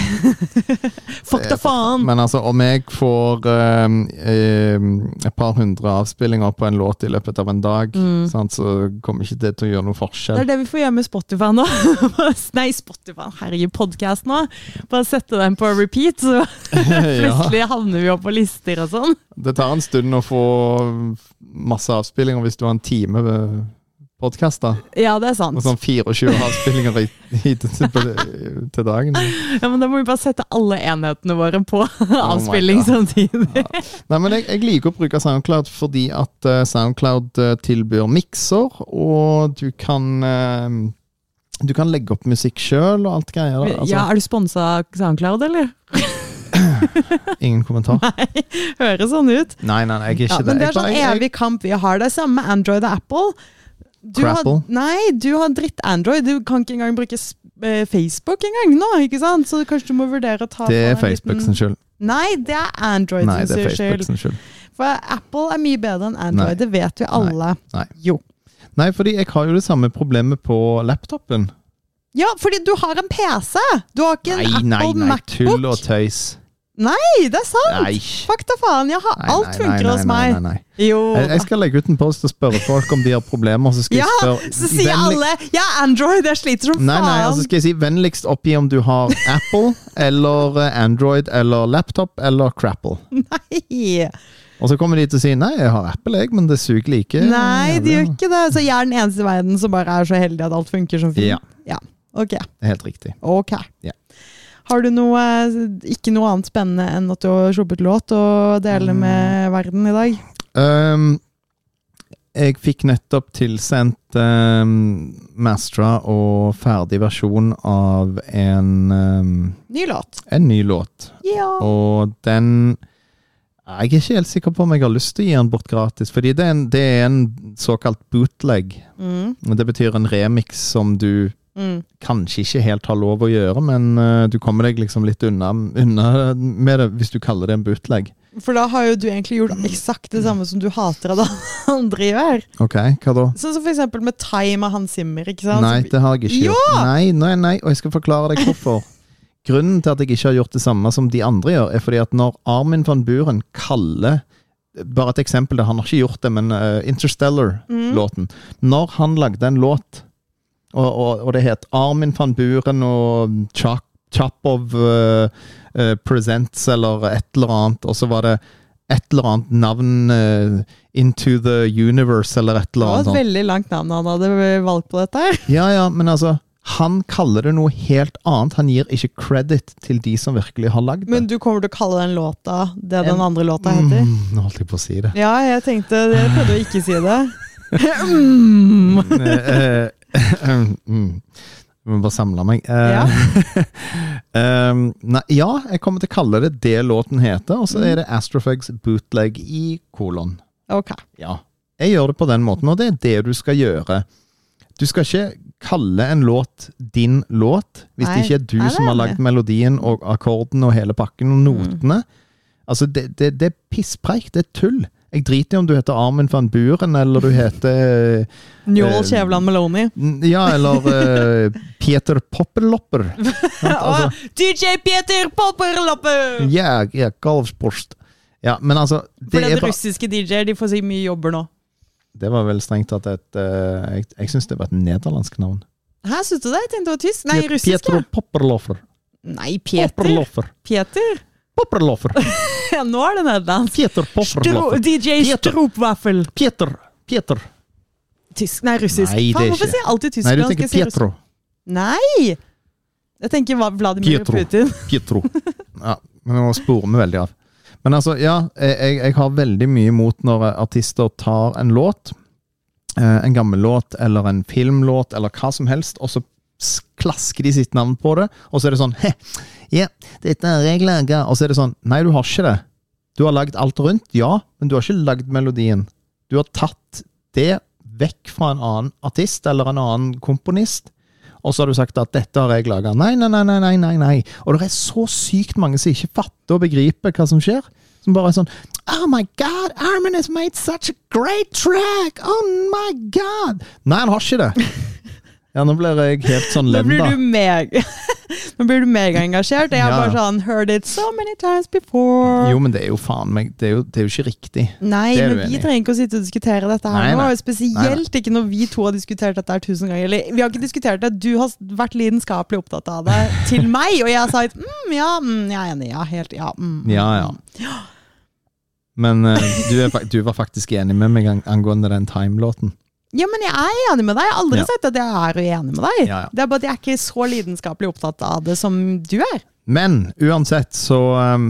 A: Fuck
B: det
A: da
B: er
A: faen!
B: Men altså, om jeg får eh, eh, et par hundre avspillinger på en låt i løpet av en dag,
A: Mm.
B: sant, så kommer ikke det til å gjøre noen
A: Det er
B: forskjell.
A: det vi får gjøre med Spotify nå. Nei, Spotify, herregud, podkast nå. Bare sette den på repeat, så
B: ja.
A: plutselig havner vi opp på lister og sånn.
B: Det tar en stund å få masse avspillinger hvis du har en time ved podkast, da.
A: Ja, det er
B: Og
A: sant.
B: sånn 24 avspillinger i, i, til, til dagen.
A: Ja, Men da må vi bare sette alle enhetene våre på
B: avspilling
A: avspilling samtidig.
B: Nei, men jeg, jeg liker å bruke SoundCloud fordi at eh, SoundCloud eh, tilbyr mikser, og du kan eh, Du kan legge opp musikk sjøl og alt greier. da. Altså,
A: Ja, Er du sponsa av SoundCloud, eller?
B: Altså, Ingen kommentar.
A: Nei, høres sånn ut.
B: Nei, nei, nei, jeg er ikke
A: Ja, men det er
B: Jeg bare-
A: sånn
B: jeg-
A: evig kamp vi har. Det er samme med Android og Apple. Du
B: Crapple.
A: Har, nei, du har dritt Android. Du kan ikke engang bruke s- eh, Facebook engang nå, ikke sant? Så kanskje du må vurdere å ta
B: det er
A: på en
B: Facebook sin skyld.
A: Nei, det er Android
B: Nei, det
A: sin
B: er
A: skyld.
B: Facebook sin skyld.
A: For Apple er mye bedre enn Android,
B: Nei.
A: det vet vi alle.
B: Nei.
A: Jo.
B: Nei, fordi jeg har jo det samme problemet på laptopen.
A: Ja, fordi du har en PC! Du har ikke en
B: Nei,
A: Apple
B: nei, nei, tull og
A: Macbook.
B: tøys.
A: Nei, det er sant!
B: Nei.
A: Fakta faen, jeg har
B: Nei,
A: alt
B: nei,
A: funker
B: nei,
A: hos
B: nei,
A: meg.
B: Nei, nei, nei.
A: Jo.
B: Jeg, jeg skal legge ut en post og spørre folk om de har problemer. Så skal
A: ja,
B: jeg spørre
A: så sier
B: vennlig-
A: alle 'jeg er Android, jeg sliter som
B: Nei, nei,
A: faen'.
B: altså skal jeg si vennligst oppgi om du har Apple eller eh, Android eller laptop eller Crapple.
A: nei.
B: Og så kommer de til å si nei, jeg har Apple, jeg, men det suger like.
A: nei, de gjør
B: jævlig».
A: ikke det. Så jeg er den eneste i verden som bare er så heldig at alt funker som fint.
B: Ja.
A: ja. Ok.
B: Helt riktig.
A: ok.
B: Ja.
A: Har du noe, ikke noe annet spennende enn at du har sluppet låt og deler
B: Mm.
A: med verden i dag?
B: Ehm, jeg fikk nettopp tilsendt um, mastra og ferdig versjon av en, ehm,
A: Ny låt.
B: en ny låt.
A: Ja.
B: Og den Jeg er ikke helt sikker på om jeg har lyst til å gi den bort gratis, fordi det er en, det er en såkalt bootleg.
A: Mm.
B: Det betyr en remix som du
A: Mm.
B: kanskje ikke helt har lov å gjøre, men eh, du kommer deg liksom litt unna, unna med det, hvis du kaller det en bootleg.
A: For da har jo du egentlig
B: Mm.
A: gjort eksakt det samme som du hater at andre gjør.
B: Ok, hva da?
A: Sånn som for eksempel med Time av Hans Zimmer. ikke sant?
B: Nei, det har jeg ikke
A: Ja!
B: gjort. Nei, nei, nei, og jeg skal forklare deg hvorfor. Grunnen til at jeg ikke har gjort det samme som de andre gjør, er fordi at når Armin van Buren kaller Bare et eksempel, da, han har ikke gjort det, men eh,
A: Mm.
B: Interstellar-låten. Når han lagde en låt, og, og, og det het Armin van Buren og Chak- Chapov eh, eh, Presents eller et eller annet, og så var det et eller annet navn eh, Into the Universe eller et
A: det
B: eller
A: var
B: annet.
A: et
B: sånt.
A: veldig langt navn han hadde valgt på dette. her.
B: Ja, ja, men altså Han kaller det noe helt annet. Han gir ikke credit til de som virkelig har lagd det.
A: Men du kommer til å kalle den låta det den
B: En-
A: andre låta heter?
B: Mm, nå holdt jeg på å si det.
A: Ja, jeg tenkte Jeg prøvde å ikke si det. Mm.
B: Eh, eh, mm. Jeg må bare samle meg. Eh,
A: Ja.
B: em, nei, ja, jeg kommer til å kalle det det låten heter,
A: Mm.
B: og så er det Astrofugs bootleg i kolon.
A: Ok.
B: Ja. Jeg gjør det på den måten, og det er det du skal gjøre. Du skal ikke kalle en låt din låt, hvis
A: Nei,
B: det ikke er du
A: nei, Mm. det
B: som
A: er
B: har
A: det.
B: lagd melodien og akkorden og hele pakken og notene. Altså, det, det, det er pisspreik. Det er tull. Jeg driter i om du heter Armin van Buren, eller du heter
A: Njål
B: Eh,
A: Skjævland Meloni.
B: Ja, eller eh, Peter Poppelopper. altså-
A: Og DJ Peter Popperlopper!
B: Ja, ja, Galvsborst. Ja, men altså
A: For
B: det,
A: den
B: er bare,
A: russiske DJ-er, de får si mye jobber nå.
B: det var vel strengt tatt et eh, Jeg, jeg syns det var et nederlandsk navn.
A: Hæ, syns du det? Jeg tenkte det var tysk. Nei,
B: Piet-
A: russisk. ja.
B: Pietro Popperloffer.
A: Nei, Peter. Peter?
B: Popperloffer.
A: Ja, nå er det nederlandsk.
B: Peter
A: Stro
B: Popperloffer.
A: DJ
B: Peter.
A: Stropvaffel.
B: Peter. Peter.
A: Tysk, nei, russisk.
B: Nei, det er
A: Faen, hvorfor
B: ikke-
A: sier jeg alltid tysk?
B: Nei, du
A: når jeg
B: tenker
A: skal si russisk?
B: Pietro.
A: Nei! Jeg tenker hva- Vladimir
B: Pietro.
A: Putin.
B: Pietro. Ja, men nå sporer vi veldig av. Men altså, ja, jeg, jeg- jeg har veldig mye imot når artister tar en låt, eh, en gammel låt eller en filmlåt eller hva som helst, og så s- klasker de sitt navn på det, og så er det sånn He, ja, dette er regler, ja. Og så er det sånn Nei, du har ikke det. Du har lagd alt rundt, ja, men du har ikke lagd melodien. Du har tatt det vekk fra en annen artist eller en annen komponist, og så har du sagt at dette har jeg laga. Nei, nei, nei, nei, nei, nei, nei. Og det er så sykt mange som ikke fatter og begriper hva som skjer. Som bare er sånn Oh my God, Armin has made such a great track! Oh my God! Nei, han har ikke det. Ja, nå blir jeg helt sånn
A: Nå blir
B: lenda.
A: du mega Nå blir du megaengasjert. Jeg er
B: Ja.
A: bare sånn Heard it so many times before.
B: Jo, men det er jo faen meg Det er jo, det er jo ikke riktig.
A: Nei,
B: det er
A: men
B: du
A: vi
B: enig i.
A: trenger ikke å sitte og diskutere dette her
B: Nei,
A: nå.
B: nei.
A: Spesielt ikke når vi to har diskutert dette her tusen ganger. Eller, vi har ikke diskutert det. Du har vært lidenskapelig opptatt av det til meg, og jeg har sagt mm, ja, mm, jeg er enig, ja, helt, ja. Mm, mm,
B: Ja, ja. Men eh, du, er, fak- du var faktisk enig med meg ang- angående den Time-låten.
A: Ja, men jeg er enig med deg. Jeg har aldri
B: Ja.
A: sagt at jeg er uenig med deg.
B: Ja, ja.
A: Det er bare at jeg er ikke så lidenskapelig opptatt av det som du er.
B: Men uansett så ehm,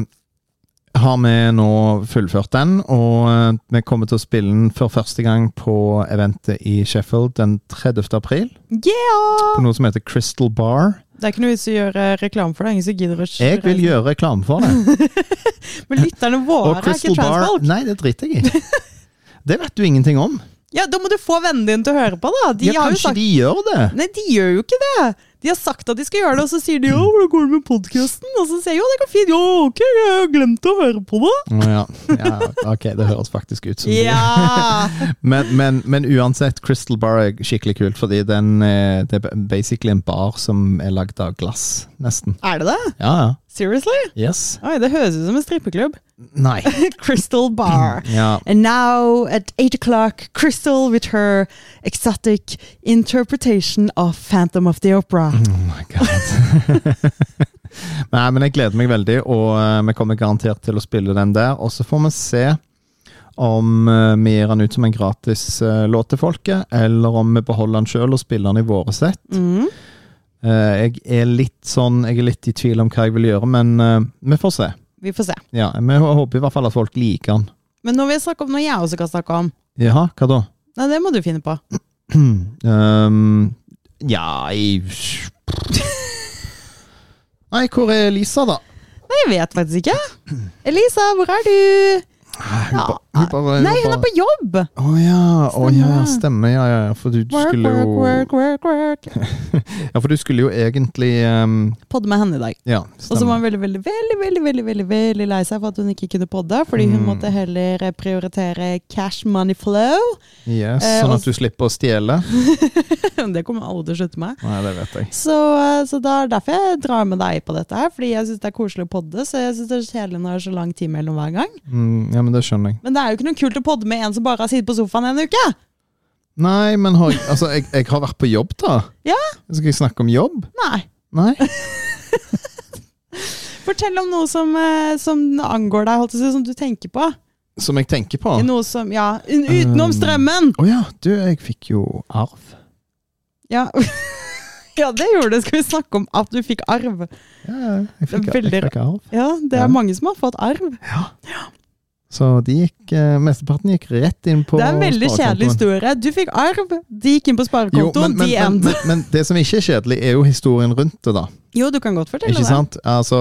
B: har vi nå fullført den, og eh, vi kommer til å spille den for første gang på eventet i Sheffield den 30. april.
A: Yeah!
B: På noe som heter Crystal Bar.
A: Det er ikke noe vits i å gjøre reklame for det. Ingen som gidder å
B: Jeg vil
A: reise.
B: gjøre reklame for det.
A: Men lytterne våre
B: Og
A: er ikke
B: Crystal Bar
A: transfolk.
B: Nei, det driter jeg i. Det vet du ingenting om.
A: Ja, da må du få vennene dine til å høre på, da. De
B: Ja,
A: har jo
B: kanskje
A: sagt
B: de gjør det?
A: Nei, de gjør jo ikke det! De har sagt at de skal gjøre det, og så sier de 'ja, hvordan går det med podkasten?' Og så sier jeg 'jo, det går fint', 'ja, ok, jeg har glemt å høre på det'.
B: Å ja. ja. Ok, det høres faktisk ut som de
A: Ja!
B: Men, men, men uansett, Crystal Bar er skikkelig kult, fordi den, eh, det er basically en bar som er lagd av glass, nesten.
A: Er det det?
B: Ja, ja.
A: Seriously?
B: Yes.
A: Oi, det høres ut som en strippeklubb.
B: Nei.
A: Crystal Bar.
B: Ja.
A: And now at eight o'clock, Crystal with her exotic interpretation of Phantom of the Opera.
B: Oh my god. Nei, men jeg gleder meg veldig, og eh, vi kommer garantert til å spille den der. Og så får vi se om eh, vi gir den ut som en gratis eh, låt til folket, eller om vi beholder den sjøl og spiller den i våre sett.
A: Mm.
B: Eh, Jeg er litt sånn, jeg er litt i tvil om hva jeg vil gjøre, men eh, vi får se.
A: Vi får se.
B: Ja, Vi håper i hvert fall at folk liker den.
A: Men nå vil jeg snakke om noe jeg også kan snakke om.
B: Jaha, hva da?
A: Nei, det må du finne på.
B: um, ja jeg... Nei, hvor er Lisa, da?
A: Nei, jeg vet faktisk ikke. Elisa, hvor er du?
B: Hun
A: Ja. ah,
B: ba- hun bare-
A: Nei, hun er
B: bare-
A: på jobb!
B: Å ja, å ja,
A: Stemmer.
B: stemmer. Ja, ja, ja, for du
A: Work,
B: skulle
A: work, work,
B: jo
A: work, work.
B: Ja, for du skulle jo egentlig ehm,
A: Podde med henne i dag.
B: Ja,
A: Og så var
B: stemmer.
A: hun veldig, veldig, veldig, veldig, veldig, veldig, veldig lei seg for at hun ikke kunne podde, fordi hun
B: Mm.
A: måtte heller prioritere cash money flow.
B: Yes,
A: eh,
B: sånn
A: og
B: at du slipper å stjele.
A: det kommer aldri til å slutte med.
B: Nei, det vet jeg.
A: Så, eh, så da er det derfor jeg drar med deg på dette her, fordi jeg syns det er koselig å podde, så jeg syns det er kjedelig når det er så lang tid mellom hver gang.
B: Mm, ja, men det skjønner jeg.
A: Men det er jo ikke noe kult å podde med en som bare har sittet på sofaen en uke!
B: Nei, men har, altså, jeg, jeg har vært på jobb, da.
A: Ja.
B: Skal jeg snakke om jobb?
A: Nei.
B: Nei.
A: Fortell om noe som, eh, som angår deg, holdt jeg på å si, som du tenker på.
B: Som jeg tenker på. Å
A: Noe som, ja, un- utenom
B: Ah. Um.
A: strømmen!
B: ja, du, jeg fikk jo arv.
A: Ja. ja, det gjorde det. Skal vi snakke om at du fikk arv?
B: Ja, ja, jeg fikk, jeg
A: Veldig
B: fikk arv.
A: Ja, det
B: Ja.
A: er mange som har fått arv.
B: Så de gikk, eh, mesteparten gikk rett inn på
A: Det er en veldig kjedelig
B: sparekontoen.
A: historie. Du fikk arv, de gikk inn på
B: Jo, men,
A: sparekontoen,
B: men,
A: de
B: men,
A: endte.
B: men, men det som ikke er kjedelig, er jo historien rundt det, da.
A: Jo, du kan godt fortelle
B: Ikke
A: det.
B: sant? Altså,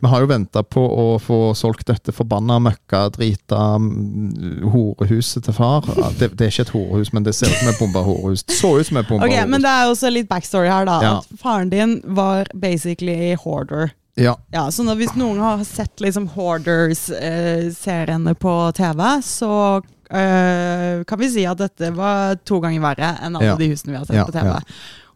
B: vi har jo venta på å få solgt dette forbanna møkka, drita mm, horehuset til far. Ja, Det, det er ikke et horehus, men det ser ut som et bomba horehus. Det så ut som et bomba
A: Ok, Men
B: horehus.
A: det er også litt backstory her, da.
B: Ja.
A: At faren din var basically hoarder.
B: Ja,
A: Ja, så når, hvis noen har sett liksom Hoarders-seriene på TV, så eh, kan vi si at dette var to ganger verre enn alle
B: Ja.
A: de husene vi har sett
B: Ja,
A: på TV.
B: ja.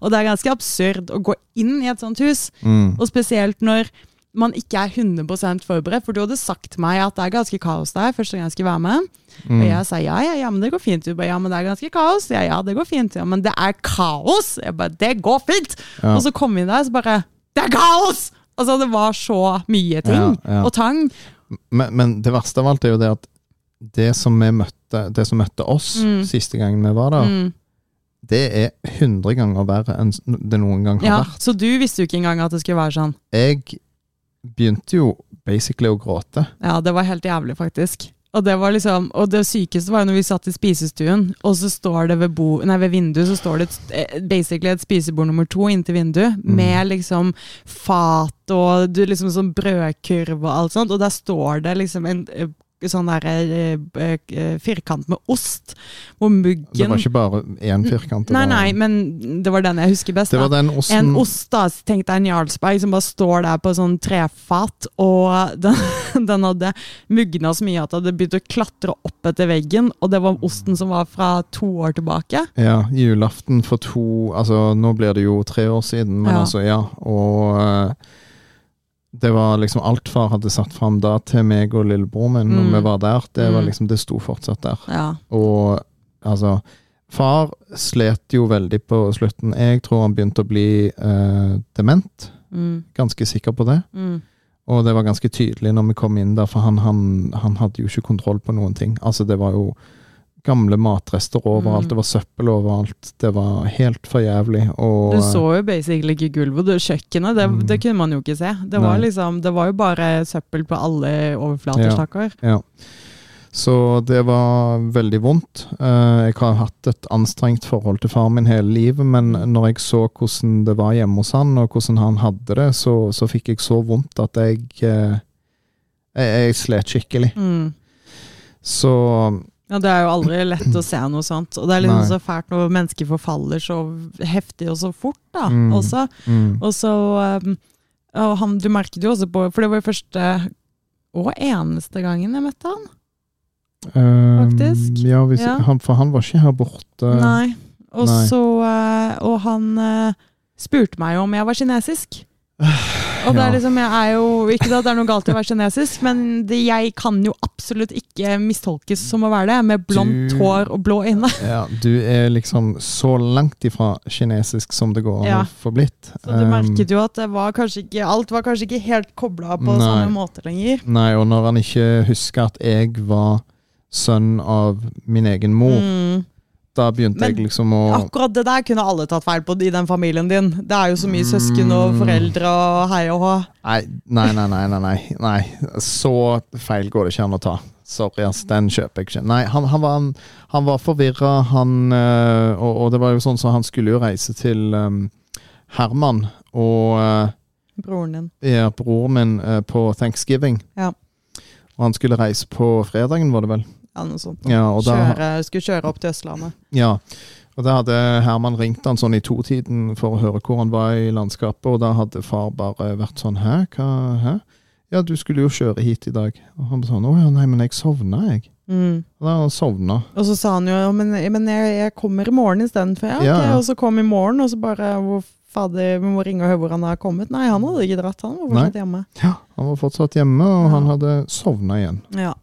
A: Og det er ganske absurd å gå inn i et sånt hus,
B: mm.
A: og spesielt når man ikke er 100 forberedt. For du hadde sagt meg at det er ganske kaos der første gang jeg skulle være med.
B: Mm.
A: Og jeg sa ja, ja, ja, men det går fint. Du bare ja, men det er ganske kaos. Ja, ja, det går fint. Ja, men det er kaos! Jeg bare det går fint!
B: Ja.
A: Og så kom vi der, så bare det er kaos! Altså, det var så mye ting.
B: Ja, ja.
A: Og tang.
B: men, men det verste av alt er jo det at det som, vi møtte, det som møtte oss
A: Mm.
B: siste gangen vi var der,
A: Mm.
B: det er 100 ganger verre enn s- det noen gang har
A: Ja,
B: vært.
A: så du visste jo ikke engang at det skulle være sånn.
B: Jeg begynte jo basically å gråte.
A: Ja, det var helt jævlig, faktisk. Og det, var liksom, og det sykeste var jo når vi satt i spisestuen, og så står det ved, bo, nei, ved vinduet så står det et, eh, basically et spisebord nummer to inntil vinduet,
B: Mm.
A: med liksom fat og du, liksom sånn brødkurv og alt sånt, og der står det liksom en eh, sånn der eh, eh, eh, firkant med ost, hvor
B: Det
A: muggen
B: var ikke bare én firkant. det
A: Nei,
B: var-
A: nei, men det var den jeg husker best.
B: Det
A: da.
B: var den osten
A: En ost, da. så Tenk deg en Jarlsberg som bare står der på sånn trefat, og den, den hadde mugna så mye at det hadde begynt å klatre opp etter veggen, og det var osten som var fra to år tilbake.
B: Ja, julaften for to Altså, nå blir det jo tre år siden, men
A: Ja.
B: altså, ja. Og eh, det var liksom alt far hadde satt fram da til meg og lillebror min når
A: Mm.
B: vi var der, det var
A: Mm.
B: liksom, det sto fortsatt der.
A: Ja.
B: Og altså Far slet jo veldig på slutten. Jeg tror han begynte å bli eh, dement.
A: Mm,
B: Ganske sikker på det.
A: mm.
B: Og det var ganske tydelig når vi kom inn der, for han, han, han hadde jo ikke kontroll på noen ting. Altså, det var jo gamle matrester overalt,
A: Mm.
B: det var søppel overalt. Det var helt for jævlig. Og eh,
A: Du så jo basically ikke gulvet. Du, kjøkkenet, det,
B: Mm.
A: det kunne man jo ikke se. Det var,
B: Nei.
A: liksom, det var jo bare søppel på alle overflater,
B: Ja.
A: stakkar.
B: Så det var veldig vondt. Eh, Jeg har hatt et anstrengt forhold til faren min hele livet, men når jeg så hvordan det var hjemme hos han, og hvordan han hadde det, så, så fikk jeg så vondt at jeg, eh, jeg, jeg slet skikkelig.
A: Mm.
B: Så
A: Ja, Det er jo aldri lett å se noe sånt. Og det er liksom
B: Nei.
A: så fælt når mennesker forfaller så heftig og så fort, da.
B: Mm.
A: også.
B: mm,
A: Og så um, og han, Du merket jo også på For det var jo første og eneste gangen jeg møtte han.
B: eh,
A: Faktisk.
B: Ja, hvis,
A: Ja.
B: Han, for han var ikke her borte.
A: Nei. Og
B: nei.
A: så eh, Og han eh, spurte meg om jeg var kinesisk. Og det
B: Ja.
A: er liksom, jeg er jo, Ikke at det er noe galt i å være kinesisk, men det, jeg kan jo absolutt ikke mistolkes som å være det, med blondt
B: Du-
A: hår og blå øyne.
B: Ja, du er liksom så langt ifra kinesisk som det går an
A: Ja.
B: å få blitt.
A: Så du
B: Um,
A: merket jo at det var kanskje ikke, alt var kanskje ikke helt kobla på
B: Nei.
A: samme måte lenger.
B: Nei, og når han ikke husker at jeg var sønn av min egen mor,
A: Mm.
B: da begynte
A: Men
B: jeg liksom å
A: Akkurat det der kunne alle tatt feil på i den familien din. Det er jo så mye
B: Mm.
A: søsken og foreldre og hei og hå.
B: Nei, nei, nei, nei, nei, nei, nei. Så feil går det ikke an å ta. Sorry, ass, den kjøper jeg ikke. Nei, han, han var, han var forvirra, han øh, og, og det var jo sånn så han skulle jo reise til øhm, Herman og øh,
A: Broren din.
B: ja, broren min øh, på thanksgiving.
A: Ja.
B: Og han skulle reise på fredagen, var det vel?
A: Ja, noe sånt.
B: Ja, og da,
A: Kjøre, skulle kjøre opp til Østlandet.
B: Ja, og da hadde Herman ringt han sånn i totiden for å høre hvor han var i landskapet, og da hadde far bare vært sånn Hæ, hva, hæ? Ja, du skulle jo kjøre hit i dag. Og han sånn Å ja, nei, men jeg sovna, jeg.
A: Mm.
B: Og da han sovna.
A: Og så sa han jo «Ja, men, men jeg, jeg kommer i morgen istedenfor. Ja, ok.»
B: Ja, ja.
A: Og så kom i morgen, og så bare hvor fader, Vi må ringe og høre hvor han har kommet. Nei, han hadde ikke dratt, han var
B: Nei.
A: fortsatt hjemme.
B: Han var fortsatt hjemme, og
A: Ja.
B: han hadde sovna igjen.
A: Ja.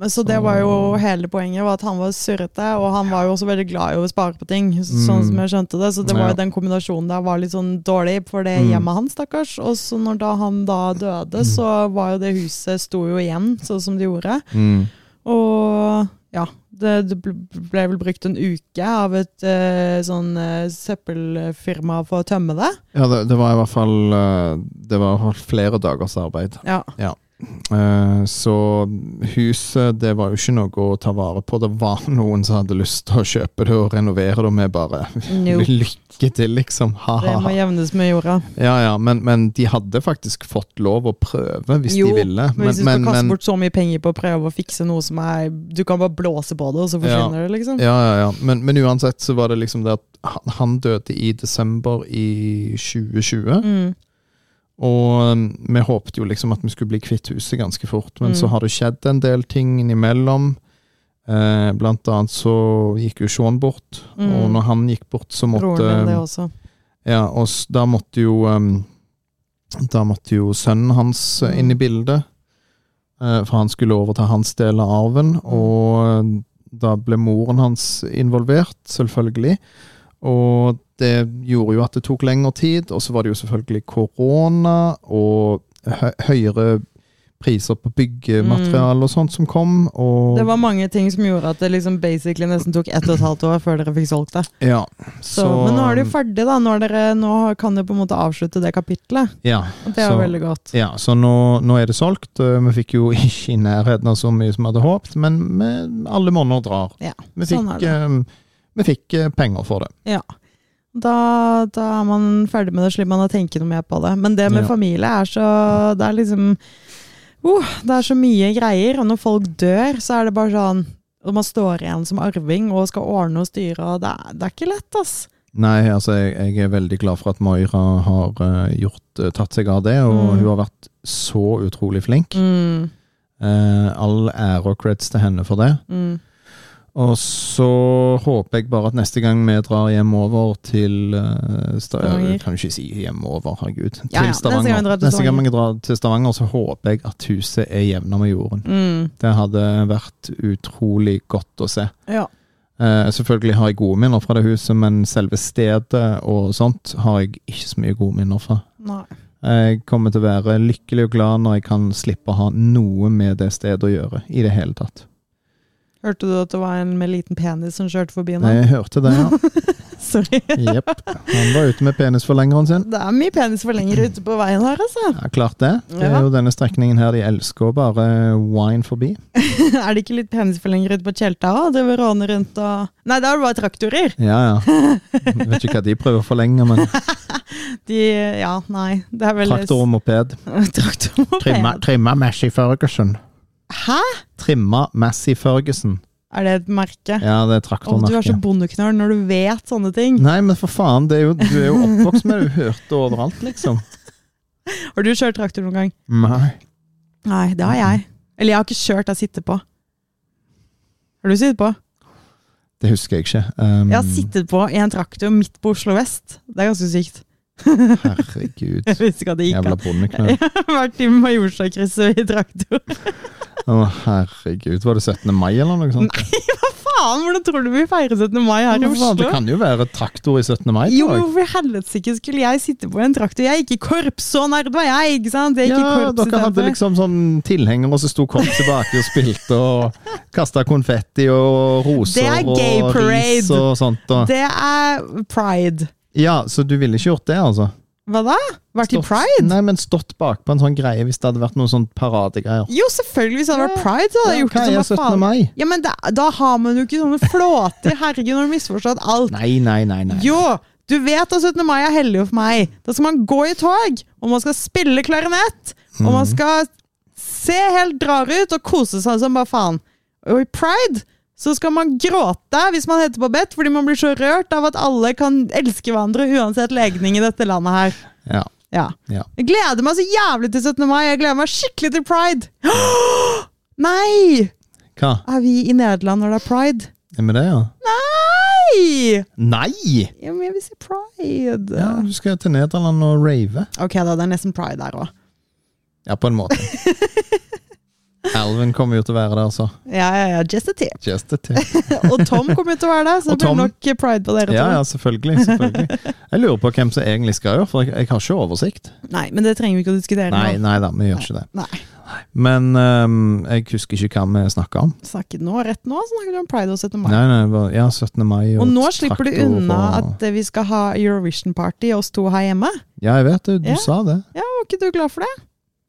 A: Men Så det var jo hele poenget, var at han var surrete, og han var jo også veldig glad i å spare på ting. s- Sånn
B: Mm.
A: som jeg skjønte det. Så det var
B: Ja.
A: jo den kombinasjonen der var litt sånn dårlig for det
B: Mm.
A: hjemmet hans, stakkars. Og så når da han da døde, så var jo det huset sto jo igjen, sånn som det gjorde. Og ja, det, det bl- ble vel brukt en uke av et eh, sånn eh, søppelfirma for å tømme det.
B: Ja, det, det var i hvert fall eh, Det var i hvert fall flere dagers arbeid.
A: Ja.
B: Eh, Så huset, det var jo ikke noe å ta vare på. Det var noen som hadde lyst til å kjøpe det og renovere det, og vi bare
A: No.
B: Lykke til, liksom. Ha,
A: Det
B: ha,
A: må
B: ha.
A: jevnes med jorda.
B: Ja, ja, men, men de hadde faktisk fått lov å prøve hvis
A: Jo,
B: de ville.
A: Men hvis du skal kaste bort så mye penger på å prøve å fikse noe som er Du kan bare blåse på det, og så forsvinner det, liksom.
B: ja, ja, ja. Men, men uansett så var det liksom det at han, han døde i desember i 2020.
A: Mm.
B: Og um, vi håpet jo liksom at vi skulle bli kvitt huset ganske fort, men
A: Mm.
B: så har det skjedd en del ting innimellom. Eh, blant annet så gikk jo Sean bort,
A: Mm.
B: og når han gikk bort, så måtte
A: Broren min, det også.
B: Ja, og s- da måtte jo um, Da måtte jo sønnen hans eh,
A: Mm.
B: inn i bildet. eh, For han skulle overta hans del av arven,
A: Mm.
B: og eh, da ble moren hans involvert, selvfølgelig. Og det gjorde jo at det tok lengre tid, og så var det jo selvfølgelig korona og hø høyere priser på byggemateriale og sånt som kom.
A: Mm.
B: Og
A: Det var mange ting som gjorde at det liksom basically nesten tok ett og et halvt år før dere fikk solgt det.
B: ja,
A: Så, men nå er det jo ferdig, da. Nå, er dere, nå kan dere på en måte avslutte det kapitlet.
B: ja,
A: Og det er jo
B: så-
A: veldig godt.
B: Ja, så nå, nå er det solgt. Eh, Vi fikk jo ikke i nærheten av så mye som vi hadde håpet, men vi, alle måneder drar.
A: Ja,
B: vi, fikk,
A: sånn er det.
B: eh, vi fikk eh, penger for det.
A: Da, da er man ferdig med det, slipper man å tenke noe mer på det. Men det med
B: Ja.
A: familie er så Det er liksom uh, Det er så mye greier, og når folk dør, så er det bare sånn og man står igjen som arving og skal ordne og styre, og det er, det er ikke lett, ass.
B: Nei, altså jeg, jeg er veldig glad for at Moira har eh, gjort, eh, tatt seg av det, og
A: Mm.
B: hun har vært så utrolig flink. Mm. Eh, all ære og creds til henne for det.
A: Mm,
B: Og så håper jeg bare at neste gang vi drar hjemover til eh, Sta-
A: Stavanger.
B: Jeg kan jo ikke si hjemover, herregud. Til
A: Ja, ja. Neste gang vi drar til
B: Neste gang vi drar til Stavanger, så håper jeg at huset er jevna med jorden.
A: mm.
B: Det hadde vært utrolig godt å se.
A: Ja.
B: Eh, selvfølgelig har jeg gode minner fra det huset, men selve stedet og sånt har jeg ikke så mye gode minner fra.
A: Nei.
B: Jeg kommer til å være lykkelig og glad når jeg kan slippe å ha noe med det stedet å gjøre i det hele tatt.
A: Hørte du at det var en med liten penis som kjørte forbi nå?
B: Nei, jeg hørte det, ja.
A: Sorry.
B: Jepp. Han var ute med penisforlengeren sin.
A: Det er mye penis for lenger ute på veien her, altså.
B: Ja, klart det. Det
A: Ja.
B: er jo denne strekningen her de elsker å bare wine forbi.
A: er det ikke litt penisforlenger ute på Tjelta òg? Driver og råner rundt og Nei, da er det bare traktorer!
B: Ja, ja. Jeg vet ikke hva de prøver å forlenge, men
A: De Ja, nei. Det er vel
B: traktor og moped.
A: Traktor og
B: Trimma,
A: moped.
B: trimma Massey Ferguson.
A: Hæ?
B: Trimma Massey Ferguson.
A: Er det et merke?
B: Ja, det er
A: Å, du er så
B: traktormerket.
A: bondeknøl når du vet sånne ting.
B: Nei, men for faen, det er jo, du er jo oppvokst med det. Du hørte overalt, liksom.
A: Har du kjørt traktor noen gang?
B: Nei.
A: Nei, det har jeg. Eller jeg har ikke kjørt, jeg sitter på. Har du sittet på?
B: Det husker jeg ikke. Um,
A: Jeg har sittet på i en traktor midt på Oslo vest. Det er ganske sykt.
B: Herregud.
A: Jeg visste ikke at det gikk
B: Jævla
A: an.
B: bondeknøl.
A: Vært i Majorstadkrysset i traktor.
B: Å, herregud. Var det 17. mai eller noe sånt?
A: Faen, hvordan tror du vi feirer 17. mai her i
B: Men faen, Det
A: Oslo?
B: kan jo være traktor i 17. mai.
A: Jo,
B: dag.
A: hvorfor i helvete ikke skulle jeg sitte på en traktor? Jeg gikk i korps, så nerd var jeg, ikke sant? Jeg gikk i
B: Ja,
A: korps i
B: dere
A: stedet
B: hadde
A: for.
B: liksom sånn tilhenger, og så sto kom tilbake og spilte og kasta konfetti og roser
A: Det er gay
B: og
A: parade.
B: ris og sånt. Og.
A: Det er pride.
B: Ja, så du ville ikke gjort det, altså?
A: Hva da? Vært i
B: Stått-
A: pride?
B: Nei, men stått bakpå en sånn greie hvis det hadde vært noen sånn paradegreier.
A: Jo, selvfølgelig, hvis det hadde vært pride, så hadde jeg gjort
B: Hva
A: det
B: er
A: som
B: 17.
A: hva faen.
B: mai?
A: Ja, men da, da har man jo ikke sånne flåter. Herregud, nå har du misforstått alt.
B: Nei, nei, nei. nei.
A: Jo, du vet at 17. mai er hellig for meg. Da skal man gå i tog, og man skal spille klarinett, og man skal se helt drar ut og kose seg som bare faen. Og i Pride så skal man gråte hvis man heter på bedt, fordi man blir så rørt av at alle kan elske hverandre uansett legning i dette landet her.
B: Ja,
A: Ja.
B: ja.
A: Jeg gleder meg så jævlig til 17. mai. Jeg gleder meg skikkelig til pride. Nei!
B: Hva?
A: Er vi i Nederland når det er pride?
B: Er vi det, ja?
A: Nei!
B: Nei!
A: Ja, men jeg vil si pride.
B: Ja, du skal til Nederland og rave.
A: Ok, da. Det er nesten pride der òg.
B: Ja, på en måte. Alvin kommer jo til å være der, så.
A: Ja, ja, ja. Just a tip.
B: Just a tip.
A: Og Tom kommer jo til å være der, så det
B: Og
A: blir
B: Tom.
A: nok pride på dere.
B: Ja,
A: to.
B: ja, selvfølgelig. selvfølgelig. Jeg lurer på hvem som egentlig skal gjøre, for jeg, jeg har ikke oversikt.
A: Nei, men det trenger vi ikke å diskutere
B: Nei,
A: nå.
B: nei da, vi gjør ikke det.
A: Nei.
B: Men ehm, jeg husker ikke hva vi snakka om.
A: Snakket nå rett nå, snakker vi om pride og 17. mai.
B: Nei, nei, det var- ja, 17. mai og
A: Og nå
B: traktor
A: slipper du unna
B: og-
A: at eh, vi skal ha Eurovision-party oss to her hjemme.
B: Ja, jeg vet det. Du
A: Ja.
B: sa det.
A: Var ikke du glad for det?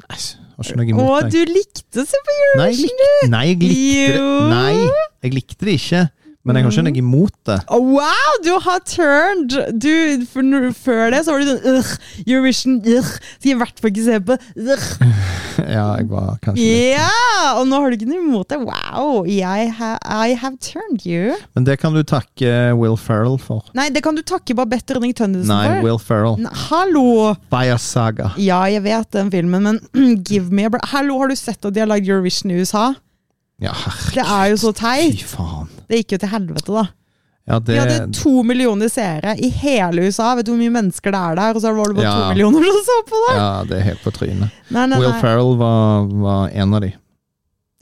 B: Nei, har ikke noe imot
A: Og
B: deg.
A: du likte å se på
B: Nei, jeg
A: Eurovision,
B: likte, nei, jeg likte
A: Jo.
B: det. Nei, jeg likte det ikke. Men jeg har ikke noe imot det.
A: Å, Wow, du har turned! Du, for, når- før det så var du sånn Ugh, Eurovision, ugh, skal jeg i hvert fall ikke se på. Ugh.
B: Ja, jeg var kanskje litt.
A: Ja! Og nå har du ikke noe imot det. Wow, I, ha, I have turned you.
B: Men det kan du takke eh, Will Ferrell for.
A: Nei, det kan du takke Babette Rønning Tønnesen
B: Nei,
A: for.
B: Will Ferrell.
A: N- Hallo!
B: Bayer Saga.
A: Ja, jeg vet den filmen, men give me a break. Hallo, har du sett at de har lagd Eurovision i USA?
B: Ja, herregud.
A: Det er jo så
B: Fy
A: teit.
B: faen.
A: Det gikk jo til helvete, da.
B: Ja,
A: Vi
B: det,
A: hadde to millioner seere i hele USA. Vet du hvor mye mennesker det er der? Og så var det bare
B: Ja.
A: to millioner som så på det!
B: ja, det er helt på trynet.
A: Nei, nei,
B: Will
A: nei.
B: Ferrell var, var en av de.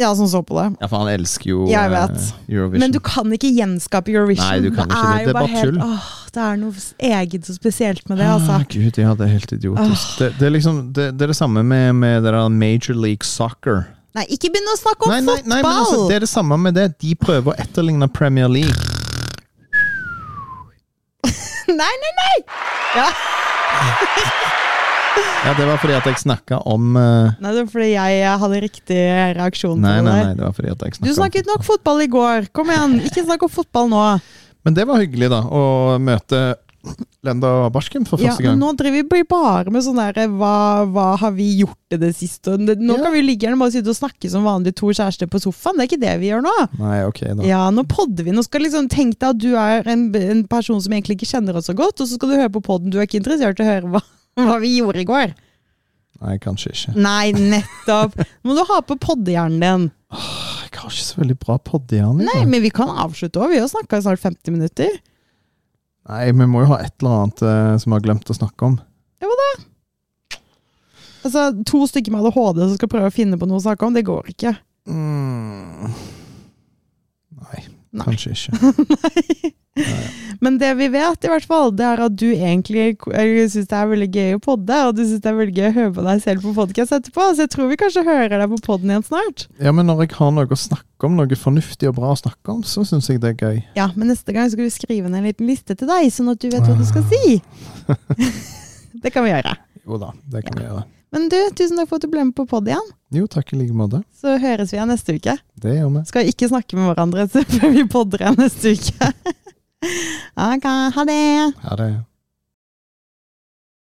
A: Ja, som så på det.
B: Ja, for han elsker jo
A: Jeg vet.
B: eh, Eurovision.
A: Men du kan ikke gjenskape Eurovision.
B: Nei, du kan ikke det.
A: jo
B: Det er
A: bare
B: bare
A: helt-
B: tull.
A: Åh, det er noe s- eget og spesielt med det, altså.
B: Ah, Gud, ja, det er helt idiotisk. Det, det, er liksom, det, det er det samme med, med det der Major League Soccer.
A: Nei, ikke begynn å snakke om
B: Nei, nei, nei, men altså,
A: fotball!
B: det er det samme med det. De prøver å etterligne Premier League.
A: Nei, nei, nei! Ja.
B: Ja, Det var fordi at jeg snakka om eh,
A: Nei, det var fordi jeg hadde riktig reaksjon
B: Nei,
A: på det
B: nei, nei,
A: der.
B: det var fordi at jeg
A: Du
B: snakket
A: snakket nok fotball i går. Kom igjen, ikke snakk om fotball nå.
B: om Men det var hyggelig, da. Å møte Lenda Barsken for
A: Ja,
B: første
A: men
B: gang.
A: nå driver vi bare med sånn derre hva, hva har vi gjort i det siste? Og det- Nå
B: Ja.
A: kan vi jo like gjerne bare sitte og snakke som vanlig to kjærester på sofaen. Det er ikke det vi gjør nå.
B: Nei, ok, da.
A: Ja, nå podder vi. Nå skal liksom tenk deg at du er en, en person som egentlig ikke kjenner oss så godt, og så skal du høre på podden. Du er ikke interessert i å høre hva, hva vi gjorde i går.
B: Nei, kanskje ikke.
A: Nei, nettopp! Nå må du ha på poddehjernen din.
B: Jeg har ikke så veldig bra poddehjerne.
A: Nei, men vi kan avslutte òg. Vi har snakka i snart 50 minutter.
B: Nei, vi må jo ha et eller annet eh, som vi har glemt å snakke om.
A: Altså, To stykker med ADHD som skal prøve å finne på noe å snakke om, det går ikke.
B: Mm. Nei,
A: Nei.
B: kanskje ikke.
A: Men det vi vet, i hvert fall, det er at du egentlig syns det er veldig gøy å podde, og du syns det er veldig gøy å høre på deg selv på podkast etterpå, så jeg tror vi kanskje hører deg på podden igjen snart.
B: Ja, Men når jeg har noe å snakke om, noe fornuftig og bra å snakke om, så syns jeg det er gøy.
A: Ja, men neste gang skal du skrive ned en liten liste til deg, sånn at du vet hva du skal si. det kan vi gjøre.
B: Jo da, det kan vi gjøre.
A: Men du, tusen takk for at du ble med på pod igjen.
B: Jo, takk i like måte.
A: Så høres vi igjen neste uke.
B: Det gjør vi.
A: Skal ikke snakke med hverandre så før vi podder igjen neste uke. ok, ha det!
B: Ha det.